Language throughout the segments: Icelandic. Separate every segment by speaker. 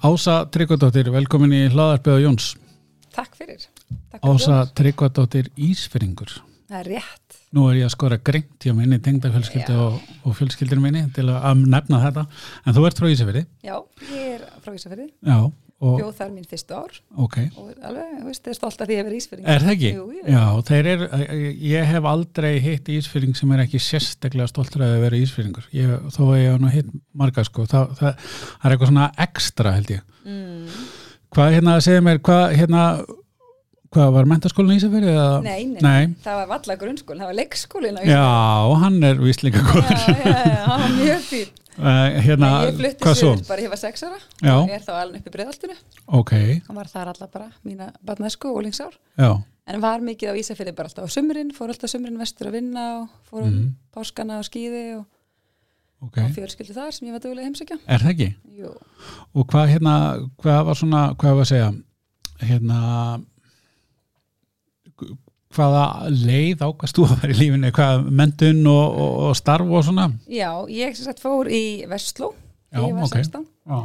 Speaker 1: Ása Tryggvadóttir, velkomin í hlaðarpið á Jóns.
Speaker 2: Takk fyrir. Takk fyrir
Speaker 1: Ása
Speaker 2: Jónas.
Speaker 1: Tryggvadóttir Ísfyrringur.
Speaker 2: Það er rétt.
Speaker 1: Nú er ég að skora greint hjá minni tengdafjölskyldi og, og fjölskyldir minni til að að nefna þetta. En þú ert frá Ísafyrði?
Speaker 2: Já, ég er frá Ísafjörði.
Speaker 1: Já. Og,
Speaker 2: Bjóð þar mín fyrstu ár
Speaker 1: ok.
Speaker 2: og alveg, þú veist, ég er stolt af því að vera Ísfjörðing.
Speaker 1: Er það ekki?
Speaker 2: Jú, jú.
Speaker 1: Já, þeir er, ég hef aldrei hitt Ísfyrring sem er ekki sérstaklega stoltur að vera Ísfyrringur. Ég, þó að ég hef nú hitt marga sko. Það, það, það er eitthvað svona ekstra held ég.
Speaker 2: Mm.
Speaker 1: Hvað hérna, segir mér, hvað hérna, hvað var mentaskólinn í Ísafyrði? eða-
Speaker 2: Nei, nei,
Speaker 1: Nei.
Speaker 2: það var valla grunnskólin, það var leikskólin á Ísafjörði.
Speaker 1: Já, hann er vist líka góður.
Speaker 2: Já, já, já, það var mjög fín.
Speaker 1: Uh, hérna,
Speaker 2: Nei, ég flutti
Speaker 1: hvað svo?
Speaker 2: sér bara, ég var sex ára.
Speaker 1: Já.
Speaker 2: og Er þá alveg uppi breiðaltinu.
Speaker 1: Ok,
Speaker 2: Það var þar alla bara mína barnesku og lingsár.
Speaker 1: já,
Speaker 2: En var mikið á Ísafjörði bara alltaf á sumrin, fór alltaf sumrin vestur að vinna og fór um páskana og skýði og,
Speaker 1: Mhm. ok.
Speaker 2: og fjölskyldu þar sem ég var dögulega heimsækja.
Speaker 1: Er það ekki?
Speaker 2: Jú,
Speaker 1: Og hvað hérna, hvað var svona, hvað var að segja, hérna, hvaða leið ákvæmst þú að vera í lífinu, hvað mentun og, og, og starf og svona?
Speaker 2: Já, ég sem sagt fór í Vestló
Speaker 1: Já,
Speaker 2: þegar ég var
Speaker 1: ok.
Speaker 2: 16,
Speaker 1: Já.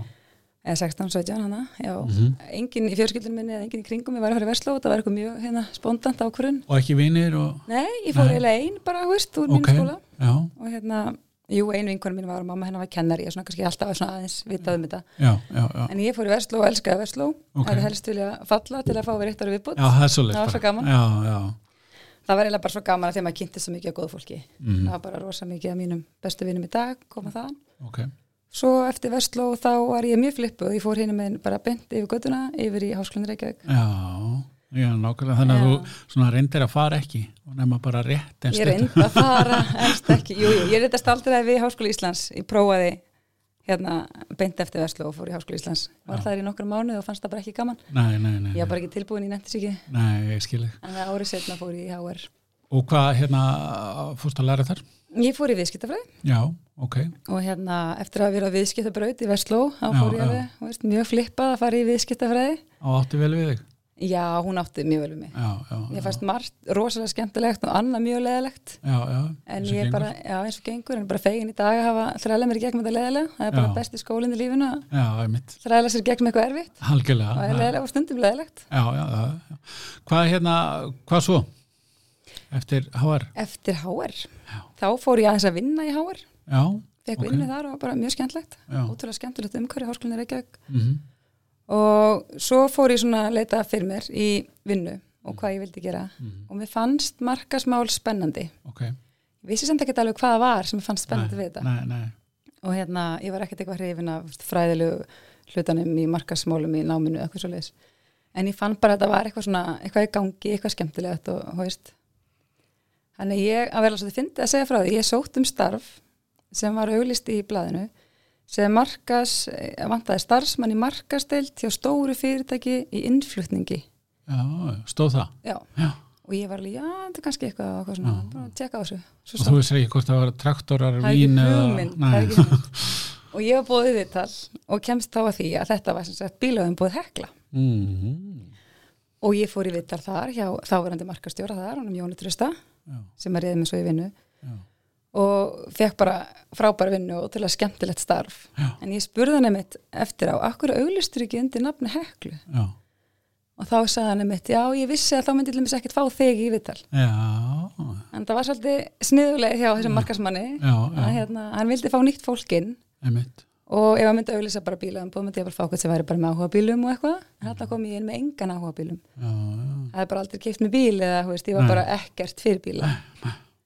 Speaker 2: eða 16, 17 hana, já,
Speaker 1: Mhm.
Speaker 2: engin í fjörskildin minni eða engin í kringum, ég var að fara í Vestló og það var eitthvað mjög hérna spondant ákvörun.
Speaker 1: Og ekki vinir og,
Speaker 2: Nei, ég fór
Speaker 1: Nei.
Speaker 2: eiginlega ein bara, þú veist, úr
Speaker 1: ok,
Speaker 2: mínu skóla
Speaker 1: já,
Speaker 2: og hérna, jú, ein vinkonu mín var og mamma hennar var kennari og svona kannski alltaf var svona aðeins vitað um þetta.
Speaker 1: já, já, já.
Speaker 2: En ég fór í Vestló og elskaði Vestló,
Speaker 1: Ok.
Speaker 2: okay. hefði helst vilja falla til að fá við réttar viðbútt.
Speaker 1: Já, það er svolítið.
Speaker 2: Það var svo gaman.
Speaker 1: Já, já,
Speaker 2: Það var eiginlega bara svo gaman að þegar maður kynnti svo mikið af góðu fólki.
Speaker 1: Mhm.
Speaker 2: Það var bara rosa mikið af mínum bestu vinum í dag, koma þaðan.
Speaker 1: ok.
Speaker 2: Svo eftir Vestló þá var ég mjög flippuð, ég fór hinn með bara beint yfir göttuna, yfir í Háskólan Reykjavík.
Speaker 1: Já, já, nákvæmlega. Þannig að þú
Speaker 2: Já.
Speaker 1: svona reyndir að fara ekki og nefna bara rétt en
Speaker 2: Ég reyndi að fara, elst ekki, jú, jú, ég reyndi að staldraði við Háskóla Íslands, ég prófaði hérna beint eftir Vestló og fór í Háskóla Íslands. Var þar í nokkra mánuð og fannst það bara ekki gaman.
Speaker 1: Nei, nei, nei.
Speaker 2: Ég var bara ekki tilbúin í nettisíki,
Speaker 1: Nei, ég skil þig.
Speaker 2: en árið setna fór ég í HR.
Speaker 1: Og hvað hérna fórst að læra þar?
Speaker 2: Ég fór í viðskiptafræði
Speaker 1: Já, ok.
Speaker 2: og hérna eftir að vera viðskiptabraut í Vestló, þá
Speaker 1: Já,
Speaker 2: fór ég
Speaker 1: já.
Speaker 2: alveg, þú veist, mjög flippað að fara í viðskiptafræði.
Speaker 1: Á átti vel við þig?
Speaker 2: Já, hún átti mjög vel við mig.
Speaker 1: Já, já.
Speaker 2: Ég fannst margt rosalega skemmtilegt og annað mjög leðilegt.
Speaker 1: Já, já.
Speaker 2: En
Speaker 1: eins og
Speaker 2: ég er
Speaker 1: gengur.
Speaker 2: bara, já eins og gengur, en bara fegin í dag að hafa þræla mér í gegnum þetta leðilega. Það er bara
Speaker 1: Já.
Speaker 2: besti skólinn í lífinu að
Speaker 1: Já, ég mitt.
Speaker 2: þræla sér gegnum eitthvað erfitt.
Speaker 1: Halgjörlega.
Speaker 2: Og það er leðilega og stundum leðilegt.
Speaker 1: Já, já, já. já. Hvað hérna, hvað svo? Eftir HR?
Speaker 2: Eftir HR, þá fór ég aðeins að vinna í HR.
Speaker 1: Já.
Speaker 2: Fekk
Speaker 1: Ok.
Speaker 2: vinnu þar og var bara mjög skemmtlegt.
Speaker 1: Já.
Speaker 2: Ótrúlega skemmtilegt umhverju háskólinni Reykjavík.
Speaker 1: Mm
Speaker 2: Og svo fór ég svona að leita fyrir mér í vinnu og hvað ég vildi gera.
Speaker 1: Mhm.
Speaker 2: Og mér fannst markasmál spennandi.
Speaker 1: Ok.
Speaker 2: Ég vissi samt ekki alveg hvað það var sem mér fannst spennandi við þetta.
Speaker 1: Nei, nei.
Speaker 2: og hérna, ég var ekkert eitthvað hrifin af fræðilegu hlutanum í markasmólum í náminu eða eitthvað svo leiðis en ég fann bara að þetta var eitthvað svona eitthvað í gangi, eitthvað skemmtilegt og hú veist þannig ég að vera svolítið fyndi að segja frá því, ég sótt um starf sem var auglist í blaðinu sem markas, eh, vantaði starfsmann í markasteild hjá stóru fyrirtæki í innflutningi
Speaker 1: Já, stóð það.
Speaker 2: já,
Speaker 1: Já.
Speaker 2: og ég var alveg, já, þetta er kannski eitthvað, eitthvað svona, bara að tjekka á þessu svo
Speaker 1: Og þú veist ekki hvort það var traktorar,
Speaker 2: það er
Speaker 1: vín
Speaker 2: ekki
Speaker 1: eða-
Speaker 2: hugmynd, það er
Speaker 1: Nei.
Speaker 2: ekki hugmynd. og ég var bóðið viðtal og kemst þá að því að þetta var sem sagt bílaðum bóð hekla
Speaker 1: Mhm.
Speaker 2: og ég fór í viðtal þar hjá þáverandi markastjóra þar, honum Jóni Trösta
Speaker 1: Já,
Speaker 2: sem að reyði mig svo í vinnu
Speaker 1: já.
Speaker 2: og fekk bara frábæra vinnu og til að skemmtilegt starf
Speaker 1: Já.
Speaker 2: en ég spurði hann einmitt eftir á akkur auglistur ekki undir nafni heklu
Speaker 1: Já.
Speaker 2: og þá sagði hann einmitt, já ég vissi að þá myndi til dæmis ekkert fá þig í viðtal
Speaker 1: Já.
Speaker 2: en það var svolítið sniðuleg hjá þessum markasmanni
Speaker 1: Mm. Já,
Speaker 2: að
Speaker 1: já.
Speaker 2: hérna, hann vildi fá nýtt fólkinn
Speaker 1: Einmitt.
Speaker 2: og ef að myndi auðlýsa bara bílaðanbúð myndi ég bara fá okkur sem væri bara með áhuga á bílum og eitthvað en þarna kom ég inn með engan áhuga á bílum
Speaker 1: Já, já.
Speaker 2: það er bara aldrei keift með bíl eða þú veist, ég var
Speaker 1: Nei.
Speaker 2: bara ekkert fyrir bíla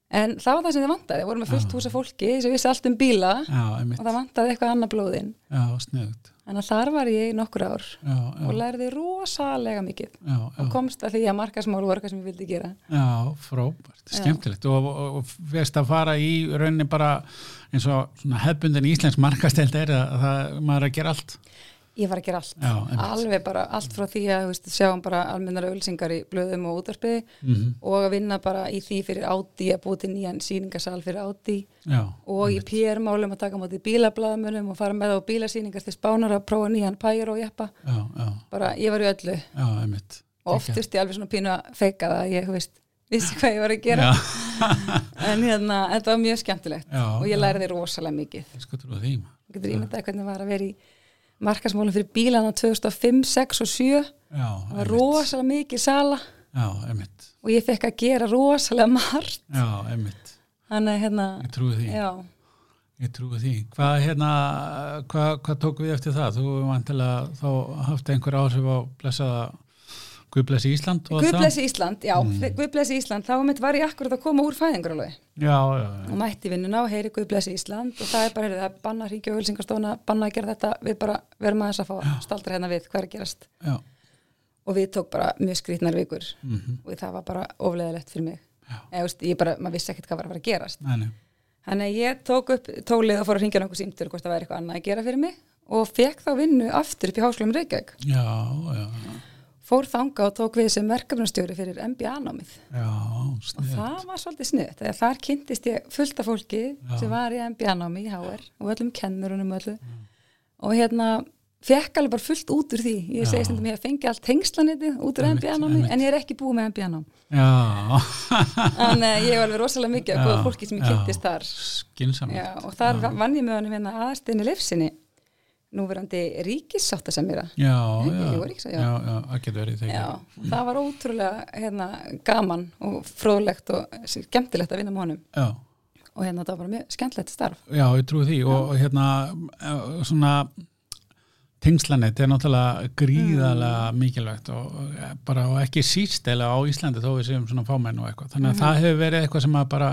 Speaker 2: en það var það sem þið vantaði, vorum með fullt húsa fólki sem vissi allt um bíla
Speaker 1: Já, einmitt.
Speaker 2: og það vantaði eitthvað annað blóðin
Speaker 1: Já, sniðugt.
Speaker 2: en þar var ég í nokkur ár
Speaker 1: Já, já,
Speaker 2: og lærði rosalega mikið
Speaker 1: já,
Speaker 2: og
Speaker 1: já,
Speaker 2: komst að því að markasmál voru eitthvað sem ég vildi gera
Speaker 1: já, frábært, skemmtilegt og, og, og veist að fara í rauninni bara eins og svona hefbundin íslensk markasteld er að það, maður er að gera allt.
Speaker 2: ég var að gera allt,
Speaker 1: Já, einmitt.
Speaker 2: alveg bara allt frá því að þú veist, sjáum bara almennar auðlýsingar í blöðum og útvarpi
Speaker 1: Mhm.
Speaker 2: og að vinna bara í því fyrir áti að búti nýjan síningasal fyrir áti
Speaker 1: Já,
Speaker 2: og í PR-málum að taka á móti bílablaðmunum og fara með á bílasýningar til spánar að prófa nýjan pæjar og jeppa
Speaker 1: já, já,
Speaker 2: bara ég var í öllu
Speaker 1: já, einmitt.
Speaker 2: og oft þurfti ég alveg svona pínu að feika það að ég þú veist, vissi hvað ég var að gera
Speaker 1: Já,
Speaker 2: en hérna, þetta var mjög skemmtilegt
Speaker 1: Já,
Speaker 2: og ég lærði rosalega mikið
Speaker 1: ég sko trúið því. maður.
Speaker 2: Þú getur ímyndað hvernig var að vera í markasmólum fyrir bílana 2005, 6 og
Speaker 1: já,
Speaker 2: 7 það var
Speaker 1: einmitt.
Speaker 2: rosalega mikið sala
Speaker 1: já, einmitt
Speaker 2: og ég fekk að gera rosalega margt
Speaker 1: já, einmitt,
Speaker 2: þannig að hérna
Speaker 1: ég trúi því
Speaker 2: já,
Speaker 1: ég trúi því, hvað hérna hvað, hvað tók við eftir það, þú vantilega þá haft einhver áhrif á blessaða Guðblessi Ísland og allt það?
Speaker 2: Guðblessi Ísland, já, mm. Guðblessi Ísland þá mitt var ég akkurat að koma úr fæðingaralögi
Speaker 1: Já, já, já,
Speaker 2: og mætti vinnuna og heyri Guðblessi Ísland og það er bara, heyrðu, það er banna að ringja og hulsingastofuna banna að gera þetta, við bara verum aðeins að fá staldra hérna við hvað er að gerast
Speaker 1: já.
Speaker 2: og við tók bara mjög skrýtnar vikur
Speaker 1: Mm
Speaker 2: og það var bara ofleðilegt fyrir mig
Speaker 1: Já.
Speaker 2: Eða, þú veist, ég bara, maður vissi ekkert hvað var að fara að gerast
Speaker 1: Nei, nei.
Speaker 2: Þannig að ég tók upp tólið og fór að ringja nokkuð símtur hvort það væri eitthvað annað að gera fyrir mig og fekk þá vinnu aftur upp í háskólum Reykjavík.
Speaker 1: Já, já,
Speaker 2: Fór þanga og tók við sem verkefnastjóri fyrir MBA-námið
Speaker 1: já,
Speaker 2: og
Speaker 1: snið.
Speaker 2: það var svolítið snuðt. Þar kynntist ég fullt af fólki sem var í MBA-námi í HR og öllum kennurunum og öllu
Speaker 1: Mm.
Speaker 2: og hérna fekk alveg bara fullt út úr því. Ég
Speaker 1: Já.
Speaker 2: segi stundum ég fengi allt tengslanitið út úr
Speaker 1: Einmitt,
Speaker 2: MBA-námi en ég er ekki búið með MBA-nám.
Speaker 1: Já,
Speaker 2: Þannig að ég hef alveg rosalega mikið af góða
Speaker 1: Já,
Speaker 2: fólki sem ég
Speaker 1: já.
Speaker 2: kynntist þar.
Speaker 1: skinsamlega.
Speaker 2: Já, og þar vann ég með honum hérna aðastinni lefsinni núverandi ríkissátta sem er að
Speaker 1: Já,
Speaker 2: Nei,
Speaker 1: já,
Speaker 2: jú, er ekki svo, já.
Speaker 1: já, já, það getur verið þegar.
Speaker 2: Já, og það var ótrúlega hérna, gaman og fróðlegt og eh, skemmtilegt að vinna með honum
Speaker 1: já,
Speaker 2: og hérna það var bara mjög skemmtilegt starf
Speaker 1: já, ég trúi því og hérna eh, svona tengslanett er náttúrulega gríðalega mikilvægt og eh, bara og ekki síst eða á Íslandi þó við séum svona fámenn og eitthvað. Þannig að það hefur verið eitthvað sem að bara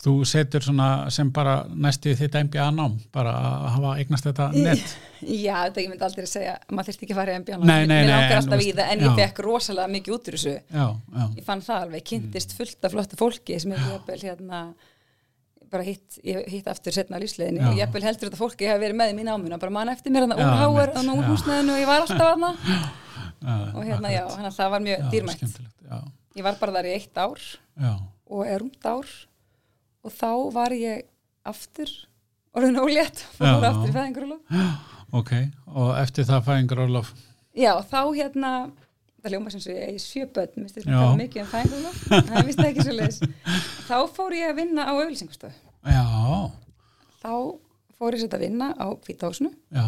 Speaker 1: þú setur svona sem bara næstu þitt MBA-nám, bara að hafa eignast þetta nett.
Speaker 2: Já, þetta ég myndi aldrei að segja maður þyrfti ekki að fara í MBA
Speaker 1: Nei, nei,
Speaker 2: mér
Speaker 1: nei,
Speaker 2: langar
Speaker 1: en
Speaker 2: alltaf
Speaker 1: þú
Speaker 2: í
Speaker 1: veist,
Speaker 2: það en ég
Speaker 1: já.
Speaker 2: fekk rosalega mikið út úr þessu
Speaker 1: Já, já,
Speaker 2: ég fann það alveg, kynntist
Speaker 1: Mm.
Speaker 2: fullt af flottu fólki sem ég jafnvel hérna bara hitt, ég hitt aftur setna á lífsleginni
Speaker 1: Já.
Speaker 2: og jafnvel heldur þetta fólki hafi verið með í mín ámuna bara mann eftir mér hann
Speaker 1: Já,
Speaker 2: úr háar
Speaker 1: einmitt,
Speaker 2: hann úr
Speaker 1: já.
Speaker 2: húsnæðinu og ég var alltaf hann
Speaker 1: já,
Speaker 2: og hérna já, hann það var mjög
Speaker 1: já,
Speaker 2: dýrmætt
Speaker 1: skemmtilegt, já,
Speaker 2: ég var bara þar í eitt ár
Speaker 1: já,
Speaker 2: og er rúmt ár og þá var ég aftur orðin ólétt og fór
Speaker 1: Já.
Speaker 2: aftur í fæðingrúlu
Speaker 1: ok, og eftir það fæðingar Orlof,
Speaker 2: já, þá hérna það ljóma sem svo ég eigi sjö börn mér styrir
Speaker 1: Já.
Speaker 2: það mikið um fæðingrúlu það er vist ekki svo leiðis þá fór ég að vinna á auðlýsingastöð
Speaker 1: já,
Speaker 2: þá fór ég sér að vinna á hvításnu
Speaker 1: já,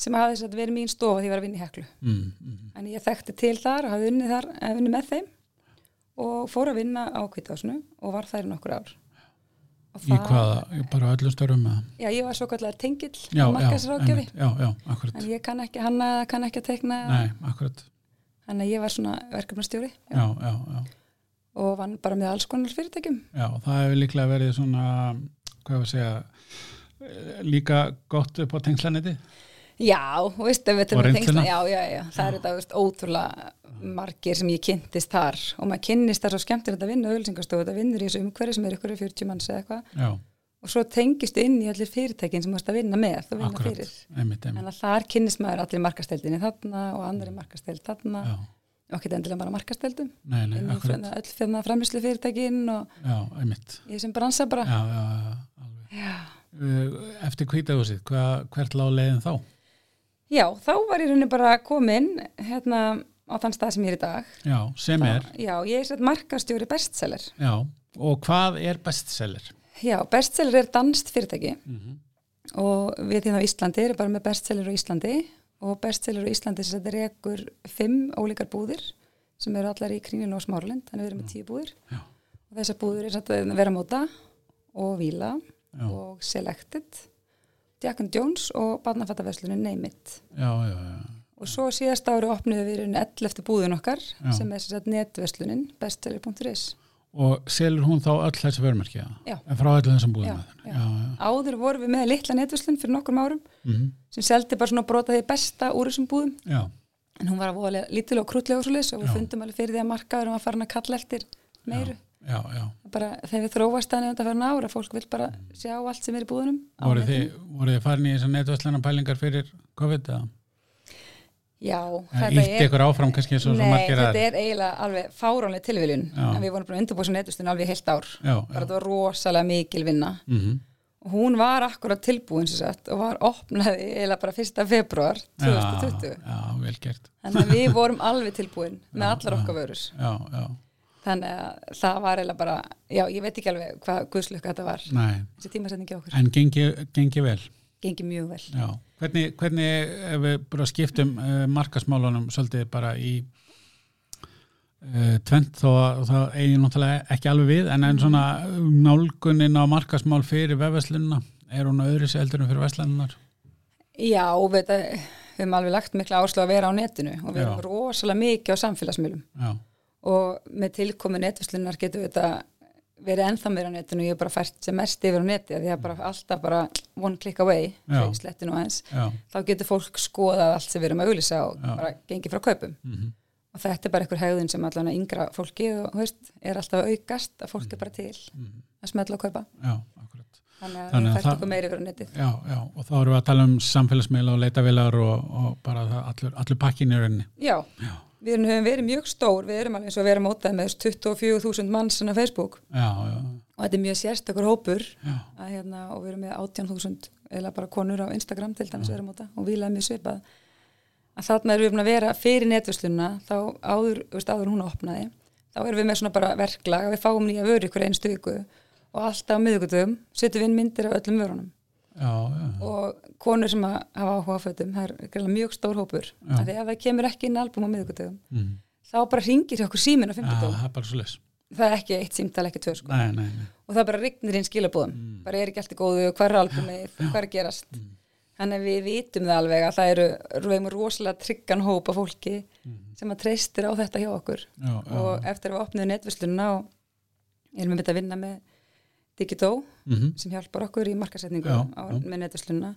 Speaker 2: sem hafði sér að verið mín stofa því ég var að vinna í heklu
Speaker 1: mm, mm,
Speaker 2: en ég þekkti til þar og hafði unnið, þar, eh, unnið með þeim og fór að vinna á hvításnu og var þær í nokkur ár og
Speaker 1: í hvaða, ég bara öllum störum með það.
Speaker 2: Já, ég var svo kallar tengill
Speaker 1: Já, já,
Speaker 2: markasrákjafi,
Speaker 1: einmitt, já, já, akkurat,
Speaker 2: en ég kann ekki hanna eða kann ekki að tekna,
Speaker 1: nei, akkurat,
Speaker 2: þannig að ég var svona verkefnastjóri já,
Speaker 1: já, já, já,
Speaker 2: og vann bara með alls konar fyrirtækjum
Speaker 1: já, það hefur líklega verið svona, hvað var að segja, eh, líka gott upp á tengslaneti,
Speaker 2: Já, þú veist, ef við
Speaker 1: Og
Speaker 2: til með
Speaker 1: reynsluna.
Speaker 2: tengsla Já, já, já, það eru þetta þú veist, ótrúlega margir sem ég kynntist þar og maður kynnist þar svo skemmtilegt að vinna auðlýsingastofu, þetta vinnur í þessu umhverfi sem er ykkur 40 manns eða eitthvað
Speaker 1: já,
Speaker 2: og svo tengist inn í allir fyrirtækin sem þú veist að vinna með, þú vinna
Speaker 1: akkurat,
Speaker 2: fyrir
Speaker 1: einmitt, einmitt,
Speaker 2: en að þar kynnist maður allir markasteldinni þarna og andri markasteld þarna
Speaker 1: já,
Speaker 2: og ekki endilega bara markasteldum
Speaker 1: nei, nei,
Speaker 2: inn í
Speaker 1: akkurat,
Speaker 2: fyrir- öll fyrir framislu fyrirtækin og
Speaker 1: já, einmitt,
Speaker 2: Ég sem bransa bara.
Speaker 1: já, já, já, alveg.
Speaker 2: Já.
Speaker 1: Eh, Eftir kvítahúsið, hvað- hvert lág leiðin þá?
Speaker 2: Já, þá var ég rauninni bara komin hérna á þann stað sem ég er í dag.
Speaker 1: Já, sem er,
Speaker 2: Já, ég er sett markastjóri bestseller.
Speaker 1: Já, og hvað er bestseller?
Speaker 2: Já, bestseller er danst fyrirtæki
Speaker 1: Mm
Speaker 2: og við hérna á Íslandi erum bara með bestseller á Íslandi og bestseller á Íslandi sem þetta rekur fimm ólíkar búðir sem eru allar í Kringlun og Smáralind, þannig við erum með tíu búðir
Speaker 1: Já.
Speaker 2: og þessar búðir er satt að vera móta og Vila
Speaker 1: Já.
Speaker 2: og Selected, Jack and Jones og barnafattaverslunin Name It.
Speaker 1: Já, já, já,
Speaker 2: Og svo síðast ári opnuðu við einu 11. búðun okkar
Speaker 1: Já.
Speaker 2: sem er sem sagt netverslunin bestseller.is.
Speaker 1: og selur hún þá öll þessi vörmerkja?
Speaker 2: Já.
Speaker 1: Frá öll þessum búðum
Speaker 2: Já,
Speaker 1: að
Speaker 2: já.
Speaker 1: þenni? Já, já.
Speaker 2: Áður vorum við með litla netverslun fyrir nokkrum árum
Speaker 1: Mhm.
Speaker 2: sem seldi bara svona brota því besta úr þessum búðum
Speaker 1: já,
Speaker 2: en hún var að voða lítil og krútlega og svoleiðis og við
Speaker 1: Já.
Speaker 2: fundum alveg fyrir því að markaður var farin að kalla eftir meiru.
Speaker 1: já, já.
Speaker 2: Bara þegar við þróast þannig undan farin ára, fólk vil bara sjá allt sem er í búðunum. á
Speaker 1: Voruð
Speaker 2: netinu.
Speaker 1: þið, voru þið farin í þessar netvæslana pælingar fyrir COVID eða?
Speaker 2: Já,
Speaker 1: Ítti ykkur áfram kannski eins og Eh, svo
Speaker 2: Nei,
Speaker 1: margir
Speaker 2: þetta
Speaker 1: að?
Speaker 2: er eiginlega alveg fáránlega tilviljun
Speaker 1: Já.
Speaker 2: en við vorum bara undirbúið sem netverslun alveg í heilt ár
Speaker 1: Já,
Speaker 2: bara
Speaker 1: já.
Speaker 2: þetta var rosalega mikil vinna
Speaker 1: Mm
Speaker 2: og hún var akkurat tilbúin sem sagt og var opnaði eiginlega bara 1. februar
Speaker 1: Já,
Speaker 2: 2020
Speaker 1: já, vel gert.
Speaker 2: þannig að við vorum alveg tilbúin með allar okkar vörur
Speaker 1: Já, já.
Speaker 2: þannig að það var eiginlega bara já, ég veit ekki alveg hvað guðslöka þetta var
Speaker 1: Nei,
Speaker 2: þessi tímasetningi á okkur
Speaker 1: en gengi, gengi vel.
Speaker 2: gengið mjög vel.
Speaker 1: Já, hvernig, hvernig ef við bara skiptum uh, markasmálunum svolítið bara í uh, tvent þó að það eigi náttúrulega ekki alveg við en
Speaker 2: Mhm.
Speaker 1: en svona eh, nálgunin á markasmál fyrir vefveslununa, er hún öðru eldur en fyrir veslunar?
Speaker 2: Já, og við, þetta- við höfum alveg lagt mikla áslu að vera á netinu og
Speaker 1: Já.
Speaker 2: við erum rosalega mikið á samfélagsmiðlum
Speaker 1: Já,
Speaker 2: og með tilkomi netvislunar getur við þetta verið ennþá meira á netinu og ég hef bara fært sem mest yfir á neti af því að bara alltaf bara one click away
Speaker 1: Já.
Speaker 2: sletti nú aðeins
Speaker 1: já,
Speaker 2: þá getur fólk skoðað allt sem við erum að auglýsa og
Speaker 1: Já.
Speaker 2: bara gengið frá kaupum
Speaker 1: Mhm.
Speaker 2: og þetta er bara einhver hegðun sem allan að yngra fólki og þú veist, er alltaf að aukast að
Speaker 1: Mm.
Speaker 2: fólk er bara til að smetla og kaupa
Speaker 1: já, akkurat.
Speaker 2: þannig að
Speaker 1: Þannig að
Speaker 2: við fært
Speaker 1: það-
Speaker 2: okkur meira yfir á netið
Speaker 1: Já, já, og þá erum við að tala um samfélagsmiðla og leitavilar og, og bara það, allur, allur pakkin er enni.
Speaker 2: Já,
Speaker 1: Já,
Speaker 2: við erum- höfum verið mjög stór við erum alveg eins og við erum mótað með 24.000 manns á Facebook
Speaker 1: já, já,
Speaker 2: og þetta er mjög sérstakur hópur
Speaker 1: já,
Speaker 2: að, hérna, og við erum með 18.000 eða bara konur á Instagram til dæmis erum á þetta og vilaði mjög svipað að þarna erum við búin að vera fyrir netvislunna þá áður, þú veist, áður hún opnaði þá erum við með svona bara verklag að við fáum nýja vöru ykkur einstu viku og alltaf á miðvikudum setjum við inn myndir af öllum vörunum
Speaker 1: já, já,
Speaker 2: og konur sem að hafa áhuga á fötum það er greinilega mjög stór hópur
Speaker 1: Já.
Speaker 2: af því að það kemur ekki inn album á miðvikudum
Speaker 1: Mhm.
Speaker 2: þá bara ringir hjá okkur símin á
Speaker 1: já,
Speaker 2: fimmtudum
Speaker 1: það er bara svo les.
Speaker 2: það er ekki eitt símtal ekki tvö sko
Speaker 1: Nei, nei, nei.
Speaker 2: og það bara rignir inn skilabóðum
Speaker 1: Mm.
Speaker 2: bara er ekki allt í góðu, hvað er albumið, hvað er að gerast þannig að við vitum það alveg að það eru við erum rosalega tryggan hópa fólki sem að treystir á þetta hjá okkur
Speaker 1: Já, Mm. já.
Speaker 2: og eftir að við opnum netvislunna og erum við að vinna með Digitó
Speaker 1: Mhm.
Speaker 2: sem hjálpar okkur í markasetningu
Speaker 1: Já,
Speaker 2: á, með netvislunna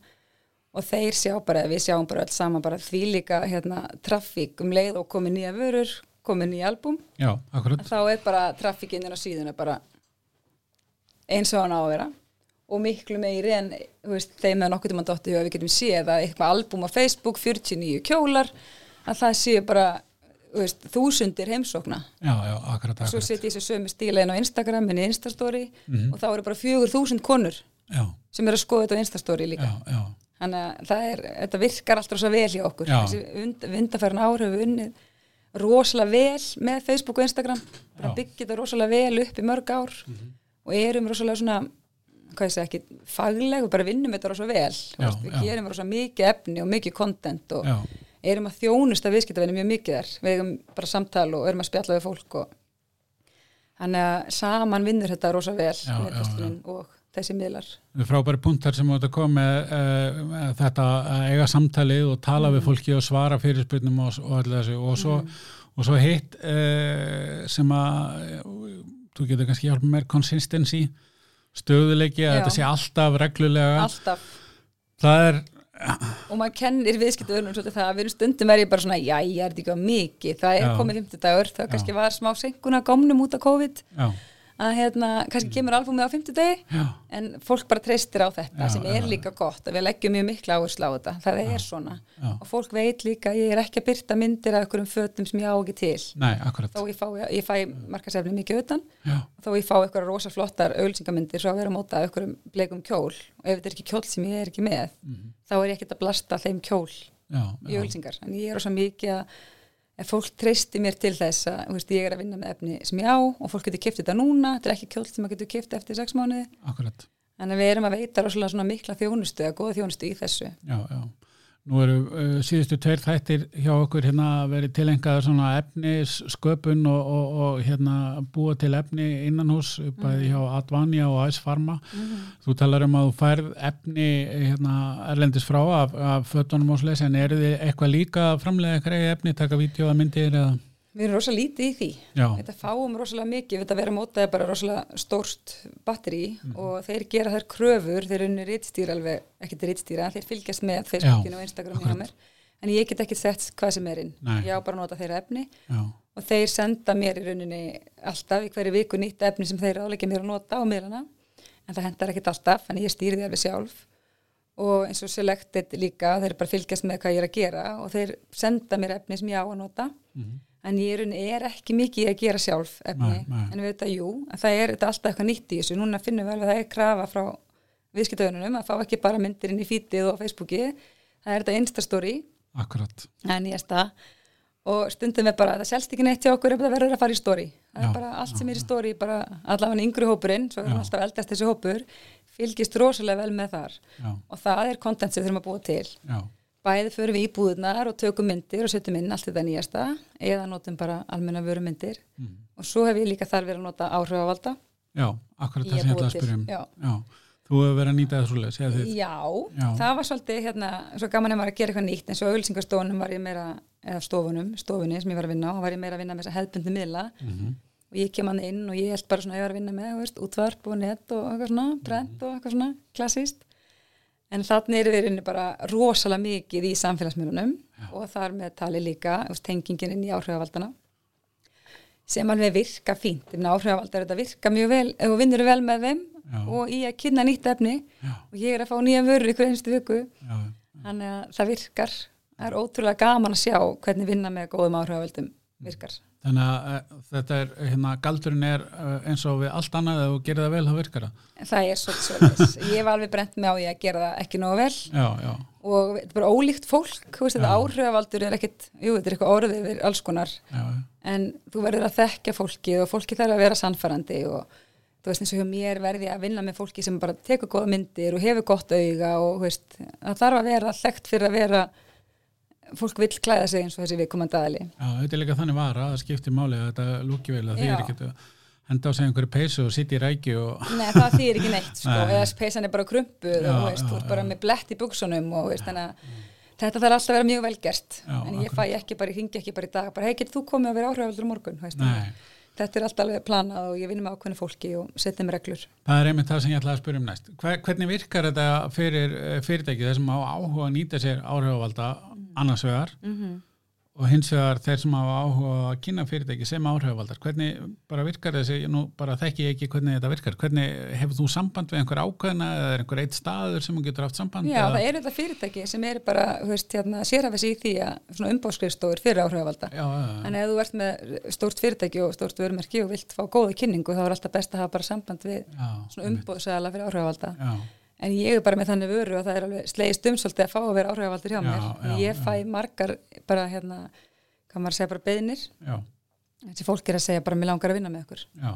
Speaker 2: og þeir sjá bara, við sjáum bara öll saman bara því líka hérna, trafík um leið og komið nýja vörur komið nýja album
Speaker 1: Já, akkurat.
Speaker 2: að þá er bara traffíkinn inn á síðuna bara eins og hann á að vera og miklu meiri en þú veist, þeim með nokkuð um hann dottir við getum séð að eitthvað album á Facebook 49 kjólar að það séu bara þú veist, þúsundir heimsókna
Speaker 1: Já, já, akkurat,
Speaker 2: svo
Speaker 1: akkurat.
Speaker 2: setja ég þessu sömu stíla inn á Instagram inn í Instastory og þá eru bara 4000 konur
Speaker 1: Já,
Speaker 2: sem eru að skoða þetta á Instastory líka
Speaker 1: já, já,
Speaker 2: þannig að það er, þetta virkar alltaf svo vel hjá okkur
Speaker 1: Já.
Speaker 2: þessi und, vindafærin ár hefur við unnið rosalega vel með Facebook og Instagram
Speaker 1: Já.
Speaker 2: bara
Speaker 1: Mhm.
Speaker 2: byggja þetta rosalega vel upp í mörg ár og erum rosalega svona hvað ég segi ekki, fagleg og bara vinnum þetta rosalega vel Þú
Speaker 1: Já,
Speaker 2: veist, við
Speaker 1: já.
Speaker 2: gerum rosalega mikið efni og mikið content og
Speaker 1: já,
Speaker 2: erum að þjónusta viðskiptavinni mjög mikið þar við erum bara samtal og erum að spjalla við fólk og þannig að saman vinnur þetta rosalega vel
Speaker 1: Já, já, já.
Speaker 2: netverslunin og þessi miðlar
Speaker 1: frábæri punktar sem átt að koma með uh, þetta að eiga samtalið og tala
Speaker 2: Mm.
Speaker 1: við fólki og svara fyrirspurnum og, og allir þessu og svo, og svo hitt uh, sem að eh, þú getur kannski hjálpa mér consistency, stöðuleiki að
Speaker 2: Já.
Speaker 1: þetta sé alltaf reglulega
Speaker 2: alltaf
Speaker 1: það er,
Speaker 2: og maður kennir viðskiptaðurnum svolítið það að við erum stundum er ég bara svona, já, ég er þetta ekki á mikið það er
Speaker 1: Já.
Speaker 2: komið 50 dagur, það
Speaker 1: Já.
Speaker 2: kannski var smá senkuna gómnum út af COVID
Speaker 1: já,
Speaker 2: að hérna, kannski
Speaker 1: Mm.
Speaker 2: kemur albúmið á 50 dagi
Speaker 1: já
Speaker 2: en fólk bara treystir á þetta
Speaker 1: Já,
Speaker 2: sem er líka gott, að við leggjum mjög mikla áherslu á þetta það er svona,
Speaker 1: Já.
Speaker 2: og fólk veit líka að ég er ekki að byrta myndir af einhverjum fötum sem ég á ekki til,
Speaker 1: Nei, akkurat,
Speaker 2: þó ég fæ, ég fæ markasefni mikið utan,
Speaker 1: já,
Speaker 2: þó ég fá einhverja rosa flottar auðlýsingamindir svo að vera að móta einhverjum bleikum kjól og ef þetta er ekki kjól sem ég er ekki með
Speaker 1: Mhm.
Speaker 2: þá er ég ekkert að blasta þeim kjól
Speaker 1: já,
Speaker 2: í
Speaker 1: já,
Speaker 2: auðlýsingar, en ég er rosa mikið að ef fólk treysti mér til þess að þú veist, ég er að vinna með efni sem ég á og fólk getur kipt þetta núna, þetta er ekki kjólt sem maður getur kipt eftir sex mánuði,
Speaker 1: akkurat
Speaker 2: en við erum að veita rosalega svona mikla þjónustu, að góða þjónustu í þessu
Speaker 1: Já, já. Nú eru uh, síðustu tveir þættir hjá okkur hérna verið tilengaður svona efnis, sköpun og, og, og hérna búa til efni innan hús, bæði hjá
Speaker 2: Mhm.
Speaker 1: Advania og Ice Pharma. Þú talar um að þú færð efni hérna erlendis frá af, af fötunum og sles, en eru þið eitthvað líka að framlega eitthvað efni, taka vídeo að myndir eða?
Speaker 2: Við erum rosalega lítið í því
Speaker 1: Já,
Speaker 2: þetta fáum rosalega mikið, þetta vera mótaði bara rosalega stórt batteri
Speaker 1: Mhm.
Speaker 2: og þeir gera þær kröfur, þeir unni rítstýra alveg, ekkert rítstýra, þeir fylgjast með Facebookinu og Instagraminu hjá
Speaker 1: akkurat.
Speaker 2: mér en ég get ekki sett hvað sem er inn
Speaker 1: Nei.
Speaker 2: ég á bara að nota þeirra efni
Speaker 1: já,
Speaker 2: og þeir senda mér í rauninni alltaf í hverju viku nýtt efni sem þeir ráleika mér að nota á miðlana en það hendar ekkit alltaf, en ég stýri því alveg sjálf og eins og selected líka þeir bara fylgjast með hvað ég er að gera og þeir senda mér efni sem ég á að nota en ég í rauninni er ekki mikið í að gera sjálf efni,
Speaker 1: Mhm. Nei, nei.
Speaker 2: en við þetta jú en það er þetta alltaf eitthvað nýtt í þessu, núna finnum við alveg að það er krafa frá viðskiptöðunum að fá ekki bara myndir inn í fítið og á Facebooki það er þetta instastory
Speaker 1: akkurat.
Speaker 2: það er nýjasta og stundum við bara, það selst ekki neitt hjá okkur ef það verður að fara í story það
Speaker 1: Já,
Speaker 2: er bara allt sem er í story, bara allavega yngri hópurinn svo erum
Speaker 1: Já.
Speaker 2: alltaf eldast þessi hópur fylgist rosalega vel með þar
Speaker 1: já,
Speaker 2: og það er kontent sem við þurfum að búa til
Speaker 1: já,
Speaker 2: bæði förum við í búðunar og tökum myndir og setjum inn allt þetta nýjasta eða notum bara almenna vörumyndir
Speaker 1: mm.
Speaker 2: og svo hef ég líka þar verið að nota áhrifavalda
Speaker 1: já, akkurat
Speaker 2: Ég
Speaker 1: það sem ég
Speaker 2: búið
Speaker 1: ætla að
Speaker 2: til,
Speaker 1: spyrja um.
Speaker 2: já.
Speaker 1: þú hefur verið að nýta þessu leys, eða þið?
Speaker 2: Já,
Speaker 1: Já.
Speaker 2: það var svolítið hérna, svo gaman að maður að gera eitthvað nýtt eins og auðlýsingastofunum var ég meira, eða stofunum, stofunni sem ég var að vinna á, var ég meira að vinna með þess að hefðbundi miðla
Speaker 1: Mhm.
Speaker 2: og ég kem hann inn og ég held bara svona að ég var að vinna með, þú veist, útvarp og net og eitthvað svona,
Speaker 1: Mhm.
Speaker 2: brent og eitthvað svona, klassíst. En þannig eru við í rauninni bara rosalega mikið í samfélagsmiðlunum og þar með tali líka, þú veist, tengingin inn í áhrifavaldana sem alveg virka fínt, ég meina áhrifavaldar þetta virka mjög vel, ef þú vinnur vel með þeim
Speaker 1: Já.
Speaker 2: og í að kynna nýtt efni
Speaker 1: já,
Speaker 2: og ég er að fá nýja vörur ykkur einstu viku
Speaker 1: já,
Speaker 2: þannig að það virkar það er ótrúlega gaman að sjá hvernig vinna með góðum
Speaker 1: Mm.
Speaker 2: áhrifavöldum virkar
Speaker 1: þannig að eh, þetta er, hérna, galdurinn er eh, eins og við allt annað ef þú gerir það vel, þá virkar það
Speaker 2: En það er svolítið svolítið, ég var alveg brent með á ég að gera það ekki nógu vel
Speaker 1: já, já,
Speaker 2: og þetta er bara ólíkt fólk þú veist, þetta áhrifavaldur er ekkit, jú þetta er eitthvað orðið yfir alls konar,
Speaker 1: já, já,
Speaker 2: en þú verður að þekkja fólkið og fólkið þarf að vera sannfærandi og þú veist eins og hjá mér verði að vinna með fólki sem bara tekur góða myndir og hefur gott auga og þú veist, það þarf að vera þekkt fyrir að vera fólk vill klæða sig eins og þessi viðkomandi aðli
Speaker 1: já, þetta er líka þannig vara að það skiptir máli að þetta lúki vel að þið
Speaker 2: Já.
Speaker 1: er ekki að henda á sig einhverju peysu og sitja í rækju og
Speaker 2: Nei, það þýðir ekki neitt sko,
Speaker 1: Nei.
Speaker 2: eða peysan er bara krumpuð
Speaker 1: Já,
Speaker 2: og þú veist,
Speaker 1: já,
Speaker 2: þú ert bara með blett í buksunum og veist, þannig að þetta þarf alltaf að vera mjög velgert
Speaker 1: Já,
Speaker 2: en ég fæ ekki bara, ég ringi ekki bara í dag bara, hei, getur þú komið að vera áhrifaldur á morgun Þú veist,
Speaker 1: Nei.
Speaker 2: þetta er alltaf alveg planað og ég vinn með ákveðinu fólki og setja með reglur
Speaker 1: það er einmitt það sem ég ætlaði að spyrja um næst Hver, hvernig virkar þetta fyrir eh, fyrirtæki þeir sem á áhuga að nýta sér áhrifavalda
Speaker 2: Mm.
Speaker 1: annars vegar
Speaker 2: -hmm.
Speaker 1: og hins vegar þeir sem hafa áhuga að kynna fyrirtæki sem áhrifavaldar hvernig bara virkar þessi, ég nú bara þekki ég ekki hvernig þetta virkar, hvernig hefur þú samband við einhver ákveðna eða er einhver eitt staður sem þú getur haft samband
Speaker 2: Já, það
Speaker 1: eða,
Speaker 2: eru þetta fyrirtæki sem eru bara, þú veist, hérna, sérhafis í því að svona umbóðskrifstofur fyrir áhrifalda
Speaker 1: já, já,
Speaker 2: en ef þú ert með stórt fyrirtæki og stórt vörumerki og vilt fá góða kynningu þá er alltaf best að hafa bara samband við
Speaker 1: já,
Speaker 2: svona um- umbóðsæðala fyrir áhrifalda
Speaker 1: já,
Speaker 2: En ég er bara með þannig vöru að það er alveg slegist um svolítið að fá að vera áhrifavaldur hjá
Speaker 1: Já,
Speaker 2: mér.
Speaker 1: já,
Speaker 2: ég fæ margar bara hérna, hvað maður að segja bara beðinir,
Speaker 1: já,
Speaker 2: þessi fólk er að segja bara mér langar að vinna með okkur.
Speaker 1: já,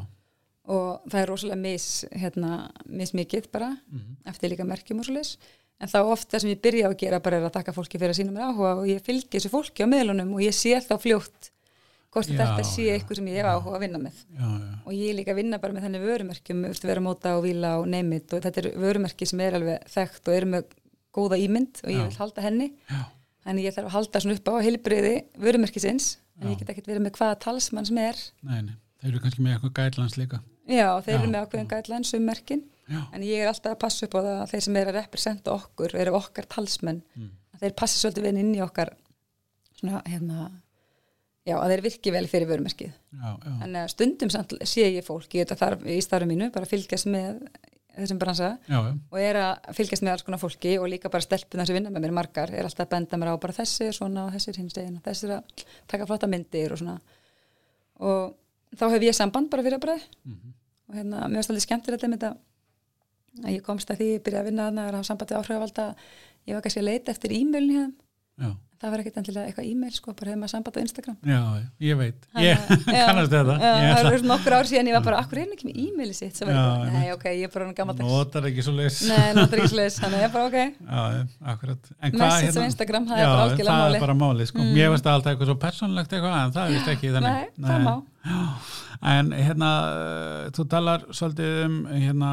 Speaker 2: Og það er rosalega mis, hérna, mismikið bara,
Speaker 1: Mhm.
Speaker 2: eftir líka merkjum og svoleiðis. En þá ofta sem ég byrja á að gera bara er að taka fólki fyrir að sína mér áhuga og ég fylgi þessu fólki á meðlunum og ég sé þá fljótt hvort
Speaker 1: Já,
Speaker 2: þetta sé
Speaker 1: já.
Speaker 2: eitthvað sem ég hef áhuga að vinna með
Speaker 1: já, já.
Speaker 2: og ég er líka að vinna bara með þannig vörumerkjum þú veist, vera móta og vila og neymit og þetta er vörumerki sem er alveg þekkt og eru með góða ímynd og ég
Speaker 1: Já.
Speaker 2: vil halda henni
Speaker 1: já.
Speaker 2: þannig ég þarf að halda svona upp á heilbriði vörumerkisins en ég get ekkert verið með hvaða talsmann sem er
Speaker 1: Nei, nei, þeir eru kannski með eitthvað gætlans líka
Speaker 2: já, þeir
Speaker 1: Já,
Speaker 2: eru með ákveðin gætlans um merkin
Speaker 1: já,
Speaker 2: en ég er alltaf að passa upp á það að þeir sem er að representa okkur eru okkar talsmenn
Speaker 1: Mm.
Speaker 2: að þeir passi svolítið vel inn í okkar svona, hérna já, að þeir virki vel fyrir vörumerkið
Speaker 1: já, já,
Speaker 2: Þannig að stundum samt sé ég fólk í, þetta þarf, í starfum mínu bara að fylgjast með þessum bransa
Speaker 1: já, já.
Speaker 2: og er að fylgjast með alls konar fólki og líka bara stelpunar sem vinna með mér margar er alltaf að benda mér á bara þessi er svona og þessi er hins veginn og þessi er að taka flotta myndir og svona og þá hef ég samband bara fyrir að breið
Speaker 1: Mhm.
Speaker 2: og hérna, mér varst alveg skemmtir þetta með þetta að ég komst að því, ég byrjaði að vinna þarna að hafa sambandi áhrifavald að ég var kannski að leita eftir e-mailin hérna,
Speaker 1: já.
Speaker 2: það var ekkit endilega eitthvað e-mail sko, bara hefði maður sambandi á Instagram
Speaker 1: Já, já, ég veit,
Speaker 2: Þannig
Speaker 1: ég
Speaker 2: að- já.
Speaker 1: kannast þetta
Speaker 2: Já,
Speaker 1: Ég
Speaker 2: það
Speaker 1: ætla-
Speaker 2: var nokkur ár síðan ég var bara, akkur er hann ekki með e-mailið sitt Svo var ég
Speaker 1: Já,
Speaker 2: bara, nei,
Speaker 1: einmitt.
Speaker 2: ok, ég er bara hann gammaldags
Speaker 1: Notar ekki svo leys Já,
Speaker 2: Nei, notar ekki slis, þannig að ég bara, ok
Speaker 1: já, akkurat En hvað hérna-
Speaker 2: Message á Instagram, það er
Speaker 1: Já,
Speaker 2: bara algjörlega
Speaker 1: það
Speaker 2: máli.
Speaker 1: er bara máli sko. Ég veist alltaf eitthvað svo persónlegt eitthvað en það er vist ekki þannig
Speaker 2: Nei, það má.
Speaker 1: Já. En hérna, eh, þú talar svolítið um hérna,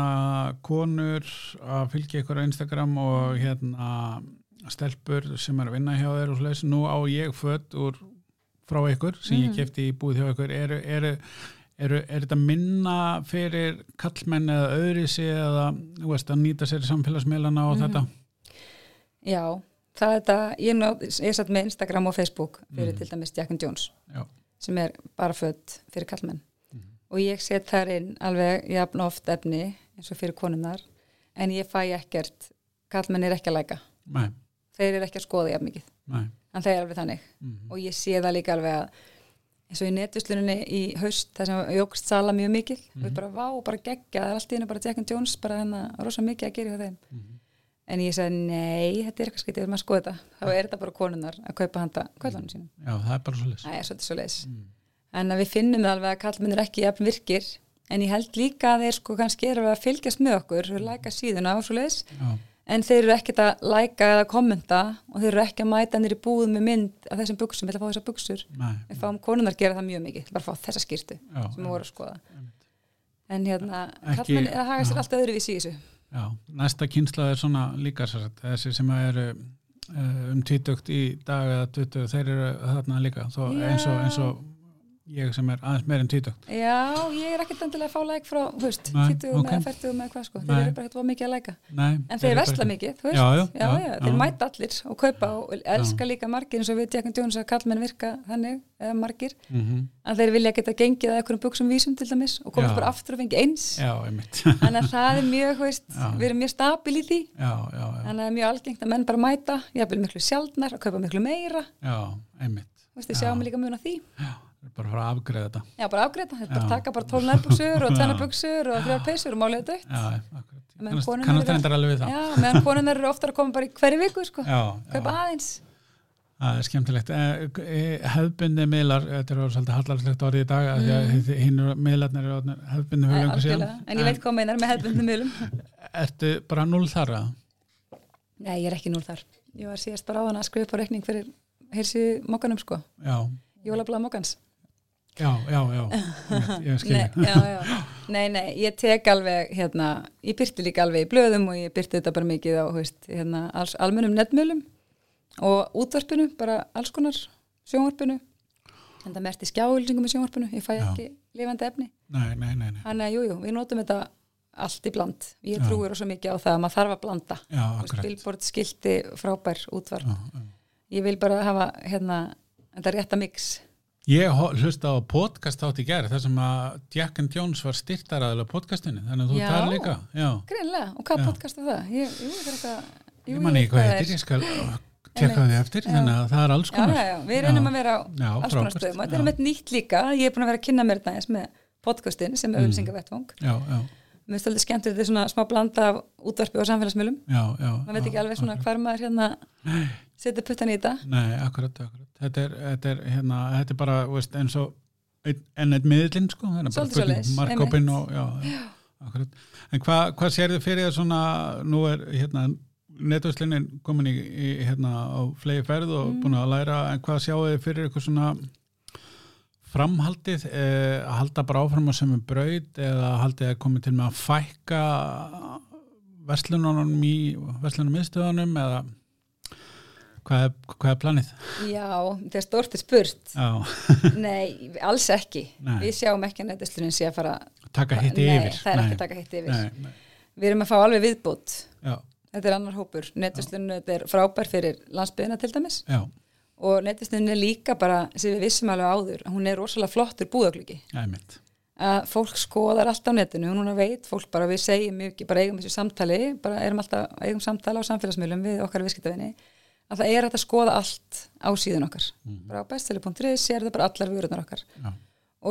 Speaker 1: konur að fylgja ykkur á Instagram og hérna stelpur sem er að vinna hjá þér og slags nú á ég fött úr frá ykkur sem
Speaker 2: Mm.
Speaker 1: ég kefti í búið hjá ykkur eru, eru, eru, er þetta minna fyrir kallmenn eða öðri sig eða þú veist, að nýta sér samfélagsmiðlana
Speaker 2: Mhm.
Speaker 1: og
Speaker 2: Já, það er þetta, ég, ná, ég satt með Instagram og Facebook fyrir til dæmis Jack and Jones
Speaker 1: þetta Mm. Já, Mhm.
Speaker 2: sem er bara född fyrir kallmenn og ég set þar inn alveg jafn oft efni eins og fyrir konunnar en ég fæ ekkert, kallmenn er ekki að læka
Speaker 1: nei,
Speaker 2: þeir eru ekki að skoða jafn mikið
Speaker 1: nei
Speaker 2: en það er alveg þannig
Speaker 1: Mhm.
Speaker 2: og ég sé það líka alveg að eins og í netvisluninni í haust það sem jógst sala mjög mikið og ég bara vá, bara geggja, það er allt í hennu bara Jack and Jones bara hennar rosa mikið að gera hjá þeim
Speaker 1: Mhm.
Speaker 2: en ég sagði nei, þetta er eitthvað skritið, við maður skoða þetta þá er þetta bara konunar að kaupa handa kvöldunum sínum
Speaker 1: Já, það er bara svo leys
Speaker 2: það er svolítið svo leis
Speaker 1: Mm.
Speaker 2: en að við finnum það alveg að kallmennir ekki jafn virkir en ég held líka að þeir sko kannski eru að fylgjast með okkur, þeir læka síðuna og svo leiðis
Speaker 1: já,
Speaker 2: en þeir eru ekkert að læka eða kommenta og þeir eru ekki að mæta nýri búð með mynd af þessum buksum, vilja fá þessar buksur
Speaker 1: nei,
Speaker 2: við fáum konunar gera það mjög mikið, bara fá þessa skýrtu
Speaker 1: já,
Speaker 2: sem við vorum að skoða
Speaker 1: einmitt.
Speaker 2: en hérna,
Speaker 1: Ekki-
Speaker 2: kallmenn er að haga sér
Speaker 1: já.
Speaker 2: allt öðruvísi í þessu
Speaker 1: já, næsta kynsla er svona líka sér, þessi sem eru eh, um týtugt í dag eða tuttugu, þeir eru þarna líka þó,
Speaker 2: Já.
Speaker 1: eins, og, eins og ég sem er aðeins meir en týtugt
Speaker 2: já, ég er ekkert endilega að fá læk frá, þú veist,
Speaker 1: Nei,
Speaker 2: 20 okay.
Speaker 1: ok.
Speaker 2: með 40 með hvað sko, þeir
Speaker 1: Nei.
Speaker 2: eru bara ekkert of mikið að læka
Speaker 1: nei,
Speaker 2: en þeir versla mikið, þú veist
Speaker 1: Já, já,
Speaker 2: já,
Speaker 1: já, já.
Speaker 2: þeir mæta allir og kaupa og elska líka margir eins og við tjekkum djóns að kallmenn virka þannig, eða margir
Speaker 1: mm
Speaker 2: að þeir vilja geta gengið að einhverjum buksum vísum til dæmis og komast
Speaker 1: Já.
Speaker 2: bara aftur og fengi eins
Speaker 1: já, einmitt
Speaker 2: þannig að það er mjög, þú veist,
Speaker 1: Já.
Speaker 2: við erum mjög stabil í því
Speaker 1: já, já, já,
Speaker 2: þannig að það er mjög algengt að menn bara mæta jafnvel miklu sjaldnar, að kaupa miklu meira
Speaker 1: já, einmitt
Speaker 2: þú veist, við
Speaker 1: Já.
Speaker 2: sjáum líka mjög á því
Speaker 1: já, þeir bara fara að afgreða þetta
Speaker 2: já, bara afgreita, þetta er bara
Speaker 1: Já.
Speaker 2: að taka bara 12 nærbuksur og 2
Speaker 1: Já.
Speaker 2: buksur og 3 peysur og málið er dött
Speaker 1: já, akkurat,
Speaker 2: Menn
Speaker 1: kannast,
Speaker 2: konurnar
Speaker 1: kannast
Speaker 2: eru-
Speaker 1: reyndar alveg við það
Speaker 2: já, meðan konunar eru oftar að koma bara í hverju viku sko,
Speaker 1: já,
Speaker 2: kaupa aðeins
Speaker 1: Það er skemmtilegt. Eh, eh, Hefðbundni miðlar, þetta er orðið svolítið hallarslegt orðið í dag, af því að mm. hinn miðlarnir eru orðnir hefðbundni fyrir
Speaker 2: Nei,
Speaker 1: lengur síðan.
Speaker 2: Eh, algjörlega. en ég veit hvað meinar með hefðbundnum mjölum
Speaker 1: Ertu bara null þar að?
Speaker 2: nei, ég er ekki núl þar ég var síðast bara á hana að skrifa upp á reikning fyrir heilsi mokkanum sko,
Speaker 1: Já,
Speaker 2: jólabla mokkans
Speaker 1: já, já, já. Einmitt, Ég skil
Speaker 2: nei,
Speaker 1: ég.
Speaker 2: já, já. nei, nei, ég tek alveg hérna, ég byrti líka alveg í blöðum og ég byrti þetta bara mikið á þú veist, hérna, alls, almennum netmjölum og útvarpinu, bara alls konar sjónvarpinu en það merti skjáhulsingum í sjónvarpinu ég fæ
Speaker 1: Já.
Speaker 2: ekki lifandi efni
Speaker 1: Nei, nei, nei, nei.
Speaker 2: þannig að jú, jú, við notum þetta allt í bland ég
Speaker 1: Já.
Speaker 2: trúir svo mikið á það að maður þarf að blanda
Speaker 1: Já,
Speaker 2: Þú veist,
Speaker 1: akkurat.
Speaker 2: billboard skilti frábær útvarp
Speaker 1: Já, já.
Speaker 2: ég vil bara hafa hérna, þetta rétta mix
Speaker 1: Ég ho- hlusta á podcast átt í gerð, þar sem að Jack and Jones var styrtaraðilega podcastinu, þannig að þú
Speaker 2: Já.
Speaker 1: tar líka. Já,
Speaker 2: Greinlega, og hvað
Speaker 1: Já.
Speaker 2: podcast er það? Ég, jú, það er eitthvað, jú,
Speaker 1: ég man
Speaker 2: jú,
Speaker 1: ekki hvað
Speaker 2: það
Speaker 1: heitir,
Speaker 2: er-
Speaker 1: ég skal tekka því eftir,
Speaker 2: Já.
Speaker 1: þannig að það er alls
Speaker 2: Já,
Speaker 1: konar.
Speaker 2: já, já, við reynum
Speaker 1: Já.
Speaker 2: að vera á
Speaker 1: Já,
Speaker 2: alls konar
Speaker 1: frábært,
Speaker 2: stöðum og
Speaker 1: já.
Speaker 2: þetta er með nýtt líka, ég er búin að vera að kynna mér þetta eins með podcastin sem er mm. ölsingavettvang
Speaker 1: Já, já,
Speaker 2: Mér stöldi skemmt þetta er svona smá blanda af útvarpi og samfélagsmiðlum
Speaker 1: já, já.
Speaker 2: maður veit
Speaker 1: já,
Speaker 2: ekki alveg svona
Speaker 1: akkurat.
Speaker 2: hvar maður hérna
Speaker 1: Nei.
Speaker 2: setja puttan í þetta
Speaker 1: Nei, akkurat, akkurat. Þetta er, þetta er, hérna, þetta er bara veist, eins og einn- enn eitt miðlinn sko, hérna bara
Speaker 2: Svolítið
Speaker 1: spurning,
Speaker 2: svoleiðis,
Speaker 1: markkópinn
Speaker 2: einmitt.
Speaker 1: og já, já. akkurat. En hva, hvað sérðu fyrir þér svona, nú er hérna netvæslinni komin í, í hérna á flegi ferð og
Speaker 2: Mm.
Speaker 1: búin að læra en hvað sjáu þið fyrir ykkur svona framhaldið eh, að halda bara áfram á sömu braut eða haldið að komið til með að fækka verslununum í verslunum miðstöðunum eða hvað er, hvað er planið?
Speaker 2: Já, þetta er stórtið spurt
Speaker 1: Já,
Speaker 2: Nei, alls ekki
Speaker 1: Nei.
Speaker 2: Við sjáum ekki að netislunin sé að fara
Speaker 1: taka hitt
Speaker 2: Nei,
Speaker 1: yfir.
Speaker 2: það er ekki að taka hitt yfir
Speaker 1: Nei, nei,
Speaker 2: Við erum að fá alveg viðbútt
Speaker 1: já,
Speaker 2: Þetta er annar hópur. Netvislunin þetta er frábær fyrir landsbyðina til dæmis
Speaker 1: já,
Speaker 2: og netvislunin er líka bara, sem við vissum alveg áður, að hún er rosalega flottur búðaglöki.
Speaker 1: já, einmitt.
Speaker 2: Að fólk skoðar allt á netinu og núna veit fólk bara, við segjum mjög ekki, bara eigum þessu samtali, bara erum alltaf, eigum samtala á samfélagsmiðlum við okkar viðskiptavinni, að það er hægt að skoða allt á síðun okkar. Bara á bestseller.ri sér það bara allar vörunar okkar
Speaker 1: Já,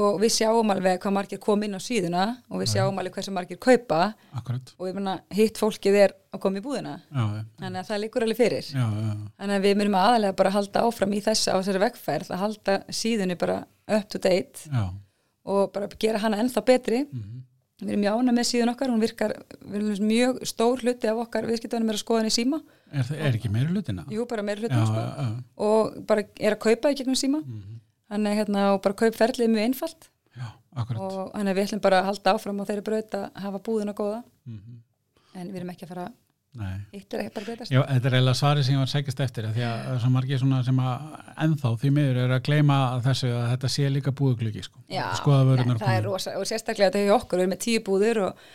Speaker 2: og við sjáum alveg hvað margir kom inn á síðuna og við sjáum alveg hversu margir kaupa
Speaker 1: akkurat.
Speaker 2: og ég meina hitt fólkið er að koma í búðina
Speaker 1: Já, já,
Speaker 2: þannig að það líkur alveg fyrir
Speaker 1: já, já,
Speaker 2: Þannig að við myndum aðalega bara halda áfram í þess á þessari vegferð að halda síðunni bara up to date
Speaker 1: já,
Speaker 2: og bara gera hana ennþá betri.
Speaker 1: Mhm.
Speaker 2: Við erum jána með síðun okkar, hún virkar við erum mjög stór hluti af okkar viðskiptunum er að skoða henni í síma.
Speaker 1: er, það- er ekki meira hlutina?
Speaker 2: Jú, bara meira
Speaker 1: já,
Speaker 2: hlutum sko.
Speaker 1: já, já,
Speaker 2: Og bara er að kaupa í gegnum síma. Þannig að hérna og bara kaupferðlið er mjög einfalt
Speaker 1: já, akkurat.
Speaker 2: og þannig að við ætlum bara að halda áfram á þeirri braut að hafa búðina góða.
Speaker 1: Mm
Speaker 2: En við erum ekki að fara,
Speaker 1: Nei.
Speaker 2: hitt er ekki bara að breytast.
Speaker 1: Já, þetta er eiginlega svarið sem ég var að sækjast eftir af því að það er svo margir svona sem að ennþá því miður eru að gleyma þessu að þetta sé líka búðuglugi sko.
Speaker 2: Já,
Speaker 1: Skoða vörunar
Speaker 2: nei, það er rosa og sérstaklega þetta hefur okkur, við erum með tíu búður og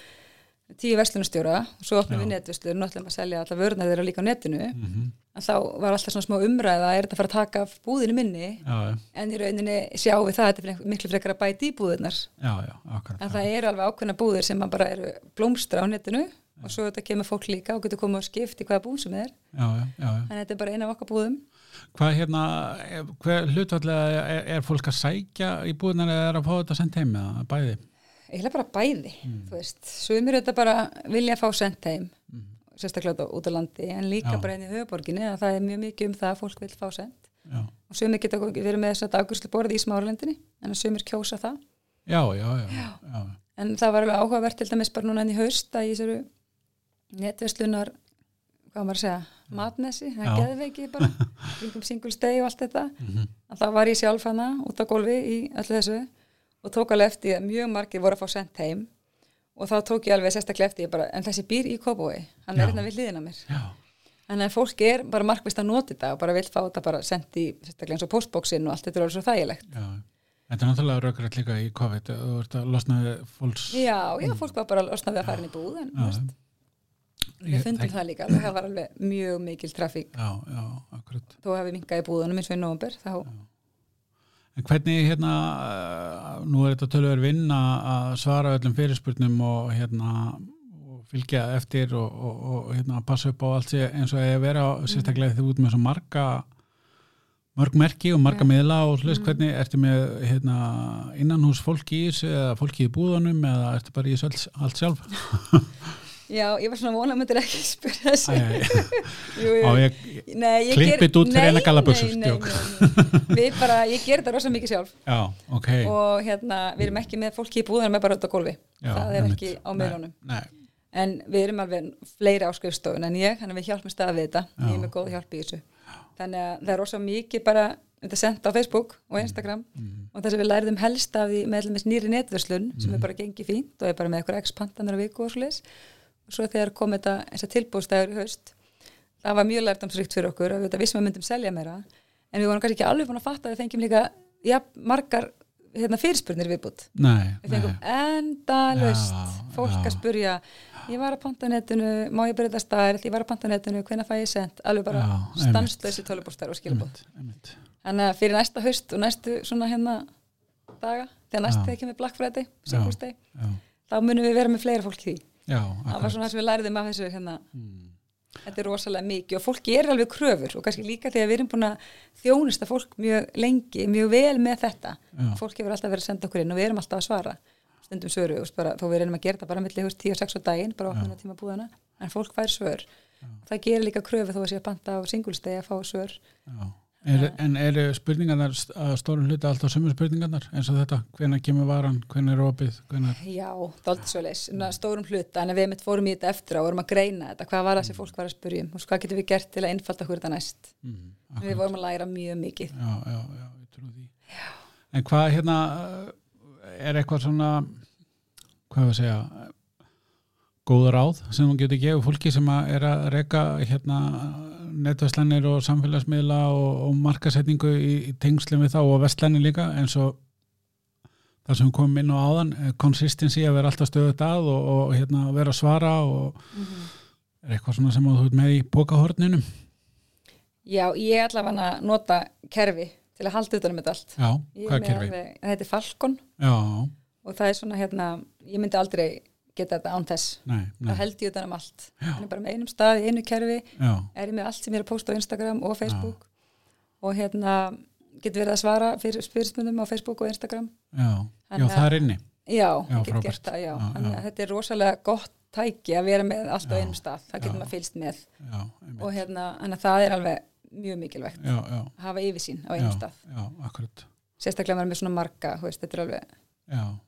Speaker 2: tíu verslunarstjóra og svo opnum
Speaker 1: Já.
Speaker 2: við netverslur, náttúrulega að selja alla vörunar þeirra líka á netinu,
Speaker 1: Mm
Speaker 2: en þá var alltaf svona smá umræða, er þetta að fara að taka af búðinu minni,
Speaker 1: Já, já,
Speaker 2: en í rauninni sjáum við það, að þetta er frek- miklu frekar að bæta í búðunar,
Speaker 1: já, já, akkurat.
Speaker 2: en það eru alveg ákveðna búður sem að bara eru blómstra á netinu og svo þetta kemur fólk líka og getur komið og skipt í hvaða búð sem er,
Speaker 1: Já, já, já, já.
Speaker 2: en þetta er bara eina af okkar búðum.
Speaker 1: Hvað hérna, eh, hver hlutvallega er, er fólk að sækja í búðunar eða er að fá þetta sendt heim eða bæði?
Speaker 2: eiginlega bara bæði, þú veist sumir þetta bara vilja fá sendt heim sérstaklega út á- út á landi en líka
Speaker 1: Já.
Speaker 2: bara enn í höfuborginni að það er mjög mikið um það að fólk vil fá sendt
Speaker 1: Já,
Speaker 2: og sumir geta verið með þess að dagurslu borði í smáralendinni en að sumir kjósa það
Speaker 1: já, já, já, já, já.
Speaker 2: en það var alveg áhugavert til dæmis bara núna enn í haust að í þessari netverslunar hvað á maður að segja, matnesi það
Speaker 1: Já.
Speaker 2: er geðveiki bara, kringum single day og allt þetta,
Speaker 1: Mhm.
Speaker 2: að það var ég sjálf hana út á gólfi í öllu þessu og tók alveg eftir því að mjög margir voru að fá sent heim og þá tók ég alveg sérstaklega eftir því bara, en þessi býr í Kobói hann
Speaker 1: Já.
Speaker 2: er hérna við hliðina á mér
Speaker 1: já,
Speaker 2: Þannig að fólk er bara markvist að nota þetta og bara vil fá þetta bara sendt í sérstaklega eins og postboxin og allt þetta er alveg svo þægilegt.
Speaker 1: já. Þetta er náttúrulega rökrætt líka í COVID þú ert að losna við fólks
Speaker 2: Já, já, fólk var bara losnað við að fara inn í búð en þú veist,
Speaker 1: Ég-
Speaker 2: við fundum það líka, alveg, það var alveg mjög mikil trafík.
Speaker 1: Já, já, akkurat
Speaker 2: Þó hafi minkað í búðunum eins og í nóvumber, þá
Speaker 1: En hvernig hérna eh, nú er þetta töluver vinna að svara öllum fyrirspurnum og hérna og fylgja eftir og, og, og hérna passa upp á allt sé- eins og að vera
Speaker 2: Mhm.
Speaker 1: sérstaklega þegar þú út með svo marga mörg merki og marga miðla og
Speaker 2: Mhm.
Speaker 1: slust, hvernig ertu með hérna, innanhús fólki í þessu eða fólki í búðunum eða ertu bara í þessu allt, allt sjálf?
Speaker 2: já, ég var svona að vona að myndir ekki spyrja
Speaker 1: Æ,
Speaker 2: þessu.
Speaker 1: æ,
Speaker 2: Jú,
Speaker 1: æ, á
Speaker 2: jú.
Speaker 1: ég,
Speaker 2: Nei, ég
Speaker 1: Klippið
Speaker 2: geri-
Speaker 1: út fyrir
Speaker 2: Nei,
Speaker 1: eina gallabuxur,
Speaker 2: nei, nei,
Speaker 1: djók.
Speaker 2: nei, nei. Við bara, ég ger þetta rosa mikið sjálf
Speaker 1: já, ok.
Speaker 2: og hérna, við erum ekki með fólki í búðunum með bara út á gólfi.
Speaker 1: já,
Speaker 2: Það er
Speaker 1: einmitt.
Speaker 2: ekki á
Speaker 1: Nei,
Speaker 2: meðlunum.
Speaker 1: Nei,
Speaker 2: en við erum alveg fleiri á skrifstofun en ég, þannig að við hjálpum stað við þetta ég er með góð hjálp í þessu þannig að það er rosa mikið bara þetta sendt á Facebook og Instagram og það sem við lærðum helst af því með alveg nýri netverslun sem er bara gengið fínt og er bara með eitthvað ex-pantanur á viku og svoleiðis og svo þegar kom þetta eins og tilbúðstæður í haust það var mjög lærtamsrikt fyrir okkur að við þetta vissum að við myndum selja meira en við vorum kannski ekki alveg búin að fatta að við fengjum líka ja, margar hérna, fyrirspurnir í viðbútt
Speaker 1: nei,
Speaker 2: við
Speaker 1: nei.
Speaker 2: fengum endalaust
Speaker 1: Já,
Speaker 2: fólk
Speaker 1: já.
Speaker 2: að spurja ég var að panta á netinu, má ég byrja þetta staðar ég var að panta á netinu, hvenær fæ ég sent alveg bara
Speaker 1: Já, einmitt.
Speaker 2: stanslösi tölubústar og skilabóð
Speaker 1: Einmitt, einmitt.
Speaker 2: þannig að fyrir næsta haust og næstu svona hérna daga, þegar næst
Speaker 1: Já.
Speaker 2: þegar kemur Black Friday
Speaker 1: Já.
Speaker 2: Singles Day,
Speaker 1: Já,
Speaker 2: þá munum við vera með fleira fólk í því,
Speaker 1: já,
Speaker 2: það var
Speaker 1: akkurat.
Speaker 2: svona það sem við læriðum af þessu hérna
Speaker 1: Mm.
Speaker 2: þetta er rosalega mikið og fólk gerir alveg kröfur og kannski líka þegar við erum búin að þjónusta fólk mjög lengi, mjög vel með þetta
Speaker 1: Já.
Speaker 2: fólk hefur alltaf verið að senda okkur inn og við erum alltaf að svara stundum svöru, þú veist, bara, þó við reynum að gera þetta bara milli 10 og 6 á daginn, bara opnum að tíma búðana en fólk fær svör það gerir líka kröfu þó að sé að panta á singulstegi að fá svör
Speaker 1: Já. Er, en eru spurningarnar st- að stórum hluta alltaf sömu spurningarnar eins og þetta, hvenær kemur varan, hvenær er opið, hvenær,
Speaker 2: já, dálítið svo leis, stórum hluta en við mitt fórum í þetta eftir á og vorum að greina þetta hvað var það sem fólk var að spurjum og hvað getum við gert til að innfalda hverju þetta næst
Speaker 1: mm,
Speaker 2: við vorum að læra mjög mikið
Speaker 1: já, já, já, ég trú því. Já. En hvað hérna, eh, er eitthvað svona, hvað við segja, eh, góð ráð sem þú getur gefið fólki sem að er að reka hérna netvæslanir og samfélagsmiðla og, og markasetningu í, í tengslum við þá og vestlænir líka eins og þar sem við komum inn á áðan konsistensi að vera alltaf stöðut að og, og hérna, vera að svara og
Speaker 2: Mhm.
Speaker 1: er eitthvað svona sem að þú ert með í bókahorninum
Speaker 2: já, ég ætla að nota kerfi til að halda utan um þetta allt
Speaker 1: já,
Speaker 2: Ég
Speaker 1: hvað
Speaker 2: er með
Speaker 1: gerir við?
Speaker 2: alveg- Það heitir Falcon
Speaker 1: já,
Speaker 2: og það er svona hérna, ég myndi aldrei geta þetta án þess.
Speaker 1: nei, nei
Speaker 2: Það held ég utan um allt.
Speaker 1: Já.
Speaker 2: Þannig bara með einum stað, í einu kerfi,
Speaker 1: já,
Speaker 2: er ég með allt sem ég er að posta á Instagram og Facebook og hérna get verið að svara fyrir spyrsmundum á Facebook og Instagram.
Speaker 1: já, já,
Speaker 2: Þannig að-
Speaker 1: það er inni
Speaker 2: Já,
Speaker 1: Já,
Speaker 2: ég get
Speaker 1: frábært.
Speaker 2: gert það, já.
Speaker 1: Já,
Speaker 2: Þannig
Speaker 1: já.
Speaker 2: að þetta er rosalega gott tæki að vera með allt á
Speaker 1: Já,
Speaker 2: einum stað. Það getur
Speaker 1: já.
Speaker 2: maður fylgst með
Speaker 1: já, einmitt.
Speaker 2: og hérna, þannig að það er alveg mjög mikilvægt
Speaker 1: já, já,
Speaker 2: að hafa yfirsýn á
Speaker 1: já,
Speaker 2: einum stað.
Speaker 1: já, akkurat
Speaker 2: Sérstaklega maður er með svona marga, þú veist, þetta er alveg
Speaker 1: já,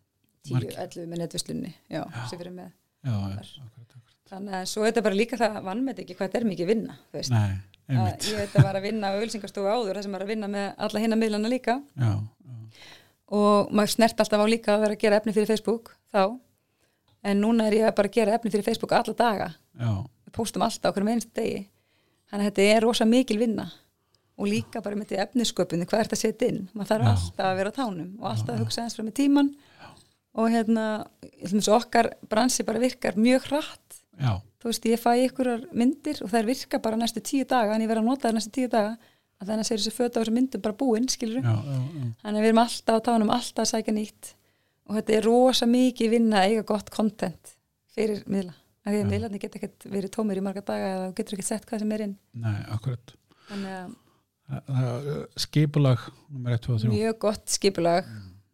Speaker 2: 10, 11 með netvislunni, já, sem við erum með.
Speaker 1: já, já, akkurat, akkurat
Speaker 2: Þannig að svo er þetta bara líka það vannmet ekki hvað þetta er mikið vinna, þú veist.
Speaker 1: nei,
Speaker 2: Að
Speaker 1: einmitt,
Speaker 2: Ég þetta var að vinna á ölsingastofu áður, það sem var að vinna með alla hinna miðlana líka
Speaker 1: já, já,
Speaker 2: og maður snert alltaf á líka að vera að gera efni fyrir Facebook þá. En núna er ég bara að gera efni fyrir Facebook alla daga.
Speaker 1: já,
Speaker 2: Við póstum alltaf okkur um einstu degi. Þannig að þetta er rosa mikil vinna og líka bara með þetta efnisköpunni, hvað er þetta að setja inn? Maður þarf
Speaker 1: Já.
Speaker 2: alltaf að vera á tánum og alltaf að hugsa eins frá með tíman og hérna, ég ætlum þessu okkar bransi bara virkar mjög hratt
Speaker 1: já,
Speaker 2: þú veist, ég fæ ykkurar myndir og þær virka bara næstu tíu daga, en ég verð að nota þær næstu tíu daga, að þannig að segja þessi föt á þessu myndum bara búinn, skilur
Speaker 1: já, já, já.
Speaker 2: þannig að við erum alltaf á tánum, alltaf að sækja nýtt og þetta er rosa mikið vinna að eiga gott content fyrir miðla, af því að miðlarni geta ekkert verið tómir í marga daga eða þú getur ekkert sett hvað sem er inn,
Speaker 1: nei, akkurat
Speaker 2: þannig að
Speaker 1: Það- það er skipulag nummer 1, 2 og 3
Speaker 2: mjög gott skipulag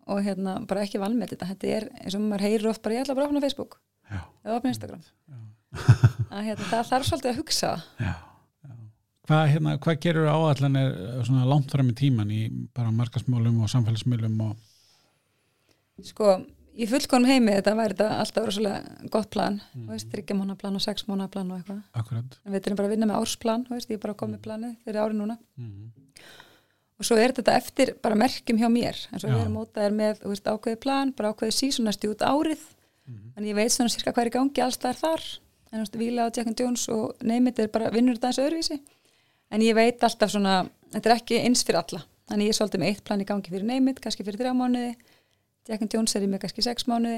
Speaker 2: og hérna, bara ekki vanmet þetta, þetta er eins og maður heyrir oft bara, ég ætla bara að opna Facebook
Speaker 1: já,
Speaker 2: eða opna Instagram að hérna, það þarf svolítið að hugsa það
Speaker 1: já, já. Hvað, hérna, hvað gerur áallanir eh, svona langt fram í tíman í bara markasmálum og samfélagsmálum og
Speaker 2: Sko, í fullkonum heimi þetta væri þetta alltaf rosalega gott plan, mm. veist, 3 mánu plan og 6 mánu plan og eitthvað
Speaker 1: akkurat
Speaker 2: en við erum bara að vinna með ársplan, þú veist, ég er bara að koma með planið fyrir ári núna
Speaker 1: mm.
Speaker 2: og svo er þetta eftir bara merkjum hjá mér en svo
Speaker 1: Já.
Speaker 2: við erum mótaðir með þú veist, ákveði plan, bara ákveði sísón næstu út árið en ég veit svona cirka hvað er í gangi alls það er þar, en þú veist, Vila og Jack and Jones og neymit er bara vinnur þetta eins öðruvísi en ég veit alltaf svona þetta er ekki eins fyrir alla, þannig ég er svolítið með eitt plan í gangi fyrir neymit, kannski fyrir þrjá mánuði Jack and Jones er ég með kannski sex mánuði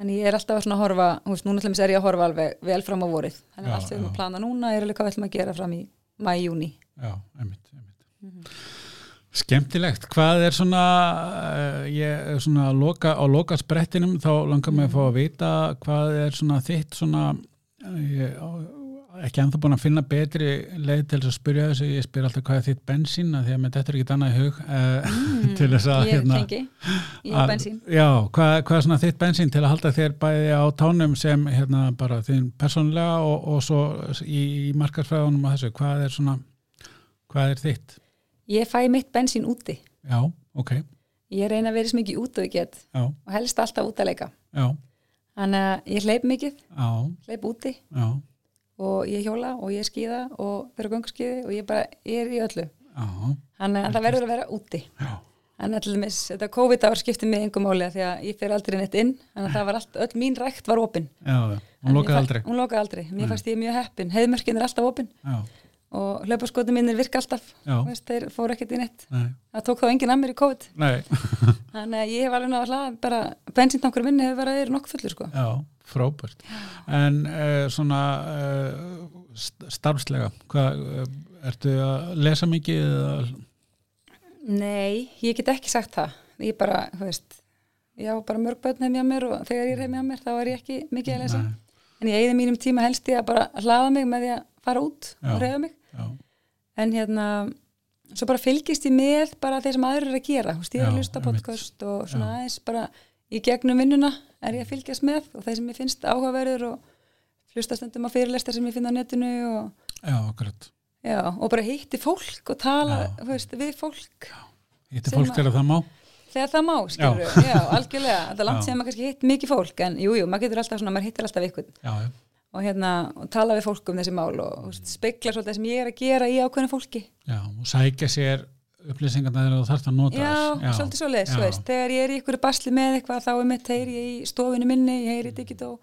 Speaker 2: Þannig ég er alltaf svona að horfa, þú veist, núna til þess er ég að horfa alveg vel fram á vorið.
Speaker 1: Já,
Speaker 2: Þannig að allt við erum
Speaker 1: já.
Speaker 2: að plana núna er alveg hvað við ætlum að gera fram í mæ-júni.
Speaker 1: já, einmitt, einmitt. skemmtilegt, hvað er svona eh, ég er svona að loka, á loka sprettinum þá langar mig að fá að vita hvað er svona þitt svona eh, ég, á- ekki ennþá búin að finna betri leið til þess að spyrja þessu ég spyr alltaf hvað er þitt bensín af því að mér þetta er ekkit annað í hug eh, til þess að hérna,
Speaker 2: Ég er kengi, ég er
Speaker 1: að-
Speaker 2: bensín.
Speaker 1: Já, hvað, hvað er svona þitt bensín til að halda þér bæði á tánum sem hérna bara þín persónlega og, og svo í, í markarsfræðunum og þessu, hvað er svona hvað er þitt?
Speaker 2: Ég fæ mitt bensín úti.
Speaker 1: Já, ok,
Speaker 2: Ég reyna að vera sem ekki út og ég get
Speaker 1: já,
Speaker 2: og helst alltaf út að leika.
Speaker 1: já
Speaker 2: Þannig að ég hleyp mikið,
Speaker 1: já,
Speaker 2: hleyp úti
Speaker 1: já,
Speaker 2: og ég hjóla og ég skýða og vera gönguskýði og ég bara ég er í öllu.
Speaker 1: já,
Speaker 2: Þannig að það verður að vera úti.
Speaker 1: já
Speaker 2: Þannig að til dæmis, þetta COVID-ár skipti mig engum máli af því að ég fer aldrei neitt inn, þannig að það var allt, öll mín rekt var opinn.
Speaker 1: Já, já, hún
Speaker 2: En
Speaker 1: lokaði
Speaker 2: mér fa-
Speaker 1: aldrei
Speaker 2: Hún lokaði aldrei, mér fannst ég mjög heppin. Heiðmörkin er alltaf opinn
Speaker 1: Já,
Speaker 2: og hlaupaskotum minnir virka alltaf.
Speaker 1: Já.
Speaker 2: Þú Veist, þeir fóru ekkert í neitt.
Speaker 1: nei,
Speaker 2: Það tók þá enginn að mér í COVID.
Speaker 1: nei
Speaker 2: Þannig að ég hef alveg náða hlað, bara bensintankur minni hefur bara verið nokkuð fullur sko.
Speaker 1: Já, frábært En uh, svona uh, starfslega hvað, uh, ertu að lesa mikið eða
Speaker 2: Nei, ég get ekki sagt það. Ég bara, þú veist, ég á bara mörg börn heim hjá mér og þegar ég er heim hjá mér þá er ég ekki mikið að lesa.
Speaker 1: Nei.
Speaker 2: En ég eigði mínum tíma helst ég að bara hlaða mig með því að fara út
Speaker 1: Já.
Speaker 2: og reyða mig.
Speaker 1: Já,
Speaker 2: en hérna svo bara fylgist ég með bara þeir sem aðrir eru að gera Þú veist, ég er
Speaker 1: Já,
Speaker 2: að hlusta á
Speaker 1: einmitt.
Speaker 2: podcast og svona
Speaker 1: Já.
Speaker 2: aðeins bara í gegnum vinnuna er ég að fylgjast með og þeir sem ég finnst áhugaverður og hlusta stundum á fyrirlestar sem ég finn á netinu og,
Speaker 1: já, akkurat
Speaker 2: já, og bara hitti fólk og tala
Speaker 1: Já.
Speaker 2: þú veist, við fólk
Speaker 1: Þetta
Speaker 2: Sem
Speaker 1: fólk
Speaker 2: að-
Speaker 1: þegar það má
Speaker 2: þegar það má, skilur já. algjörlega, það er langt
Speaker 1: Já.
Speaker 2: sem maður kannski hitt mikið fólk en jújú, jú, maður getur alltaf svona, maður hittir alltaf ykkur
Speaker 1: Já, já,
Speaker 2: og hérna, og tala við fólk um þessi mál og þú veist, spekla svolítið það sem ég er að gera í ákveðinu fólki
Speaker 1: já og sækja sér upplýsingarna þegar þú þarft að nota
Speaker 2: Já,
Speaker 1: þær.
Speaker 2: svolítið svo leiðis,
Speaker 1: já,
Speaker 2: þú veist, þegar ég er í ykkur basli með eitthvað þá er mitt, heyri ég í stofinu minni, ég
Speaker 1: Mm.
Speaker 2: heyri í Digitó,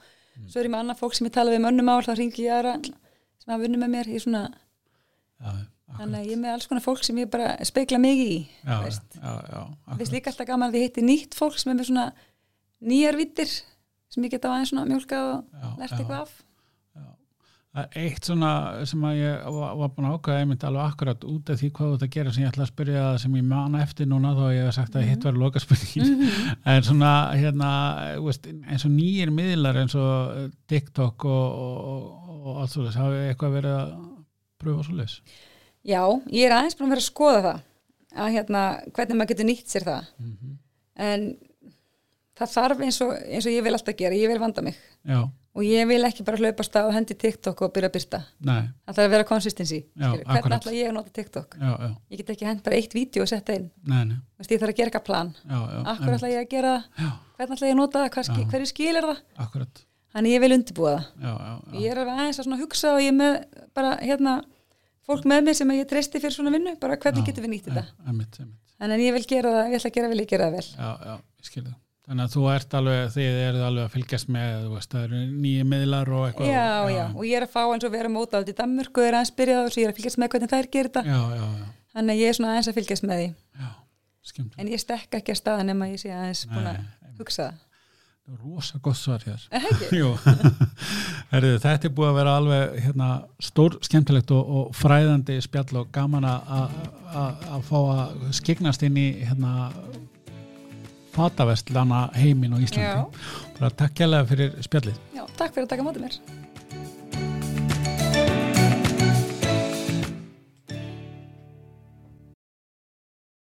Speaker 2: svo er ég með annað fólk sem ég tala við um önnum ál, þá ringi ég aðra sem hafa vunni með mér, ég svona,
Speaker 1: Já, akkurat.
Speaker 2: þannig að ég er með alls konar fólk sem ég bara spekla mig í,
Speaker 1: já,
Speaker 2: þú veist.
Speaker 1: já, já,
Speaker 2: Mér finnst
Speaker 1: akkurat.
Speaker 2: líka alltaf gaman að ég hitti nýtt fólk sem er með svona nýjar vittir sem ég geta aðeins svona mjólkað
Speaker 1: Já,
Speaker 2: og lært
Speaker 1: já.
Speaker 2: eitthvað af.
Speaker 1: Það er Eitt svona sem að ég var var búin að ákveða einmitt alveg akkurat út af því hvað þú ert að gera sem ég ætla að spyrja það sem ég man eftir núna þá ég hef sagt að
Speaker 2: Mhm.
Speaker 1: hitt var loka spurning en svona hérna þú veist, eins og nýjir miðlar eins og eh, TikTok og, og, og, og allt svo leis hafið eitthvað verið að pröfa svo leis
Speaker 2: Já, ég er aðeins búin að vera að skoða það, að hérna, hvernig maður getur nýtt sér það,
Speaker 1: Mhm.
Speaker 2: en það þarf eins og, eins og ég vil alltaf gera, ég vil vanda mig
Speaker 1: Já,
Speaker 2: og ég vil ekki bara hlaupast á hendi TikTok og byrja að byrta.
Speaker 1: nei,
Speaker 2: Það þarf að vera konsistensi.
Speaker 1: Já,
Speaker 2: Hvernig
Speaker 1: akkurat.
Speaker 2: ætla ég að nota TikTok?
Speaker 1: já, já,
Speaker 2: Ég get ekki hend bara eitt vídeo og setja inn.
Speaker 1: nei, nei
Speaker 2: Þú Veist, ég þarf að gera eitthvað plan.
Speaker 1: já, já,
Speaker 2: Akkur
Speaker 1: einmitt.
Speaker 2: ætla ég að gera það?
Speaker 1: Já,
Speaker 2: Hvernig ætla ég að nota það? Hvað skil, hverju skilur það?
Speaker 1: akkurat
Speaker 2: Þannig ég vil undirbúa það.
Speaker 1: já, já, já,
Speaker 2: Ég er alveg aðeins að svona hugsa og ég er með bara hérna fólk með mér sem ég treysti fyrir svona vinnu, bara hvernig getum við nýtt þetta?
Speaker 1: já, einmitt, einmitt.
Speaker 2: Þannig en ég vil gera það, ég ætla að gera vel, ég gera það vel.
Speaker 1: já, já, ég skil það þannig að þú ert alveg, þið eruð alveg að fylgjast með þú veist, það eru nýjir miðlar og eitthvað
Speaker 2: Já,
Speaker 1: og-
Speaker 2: já, og ég er að fá eins og vera móta á þetta í Danmörku, er aðeins byrjað á þessu, ég er að fylgjast með hvernig þær gerir þetta.
Speaker 1: já, já, já,
Speaker 2: Þannig að ég er svona aðeins að fylgjast með því.
Speaker 1: já skemmt,
Speaker 2: En ég stekk ekki að staða nema ég sé aðeins búin að
Speaker 1: Nei,
Speaker 2: hugsa það.
Speaker 1: rosa gott svar hér
Speaker 2: Eh, ekki?
Speaker 1: Jú, Herðu, þetta er búið að vera alveg hérna, stór skemmtilegt og, og fræðandi spjall og gaman að- að að- að fá að skiknast inn í hérna, fatavestlana heiminn og Íslandi
Speaker 2: Já.
Speaker 1: bara takk kjærlega fyrir spjallið
Speaker 2: Já, takk fyrir að taka mótið mér.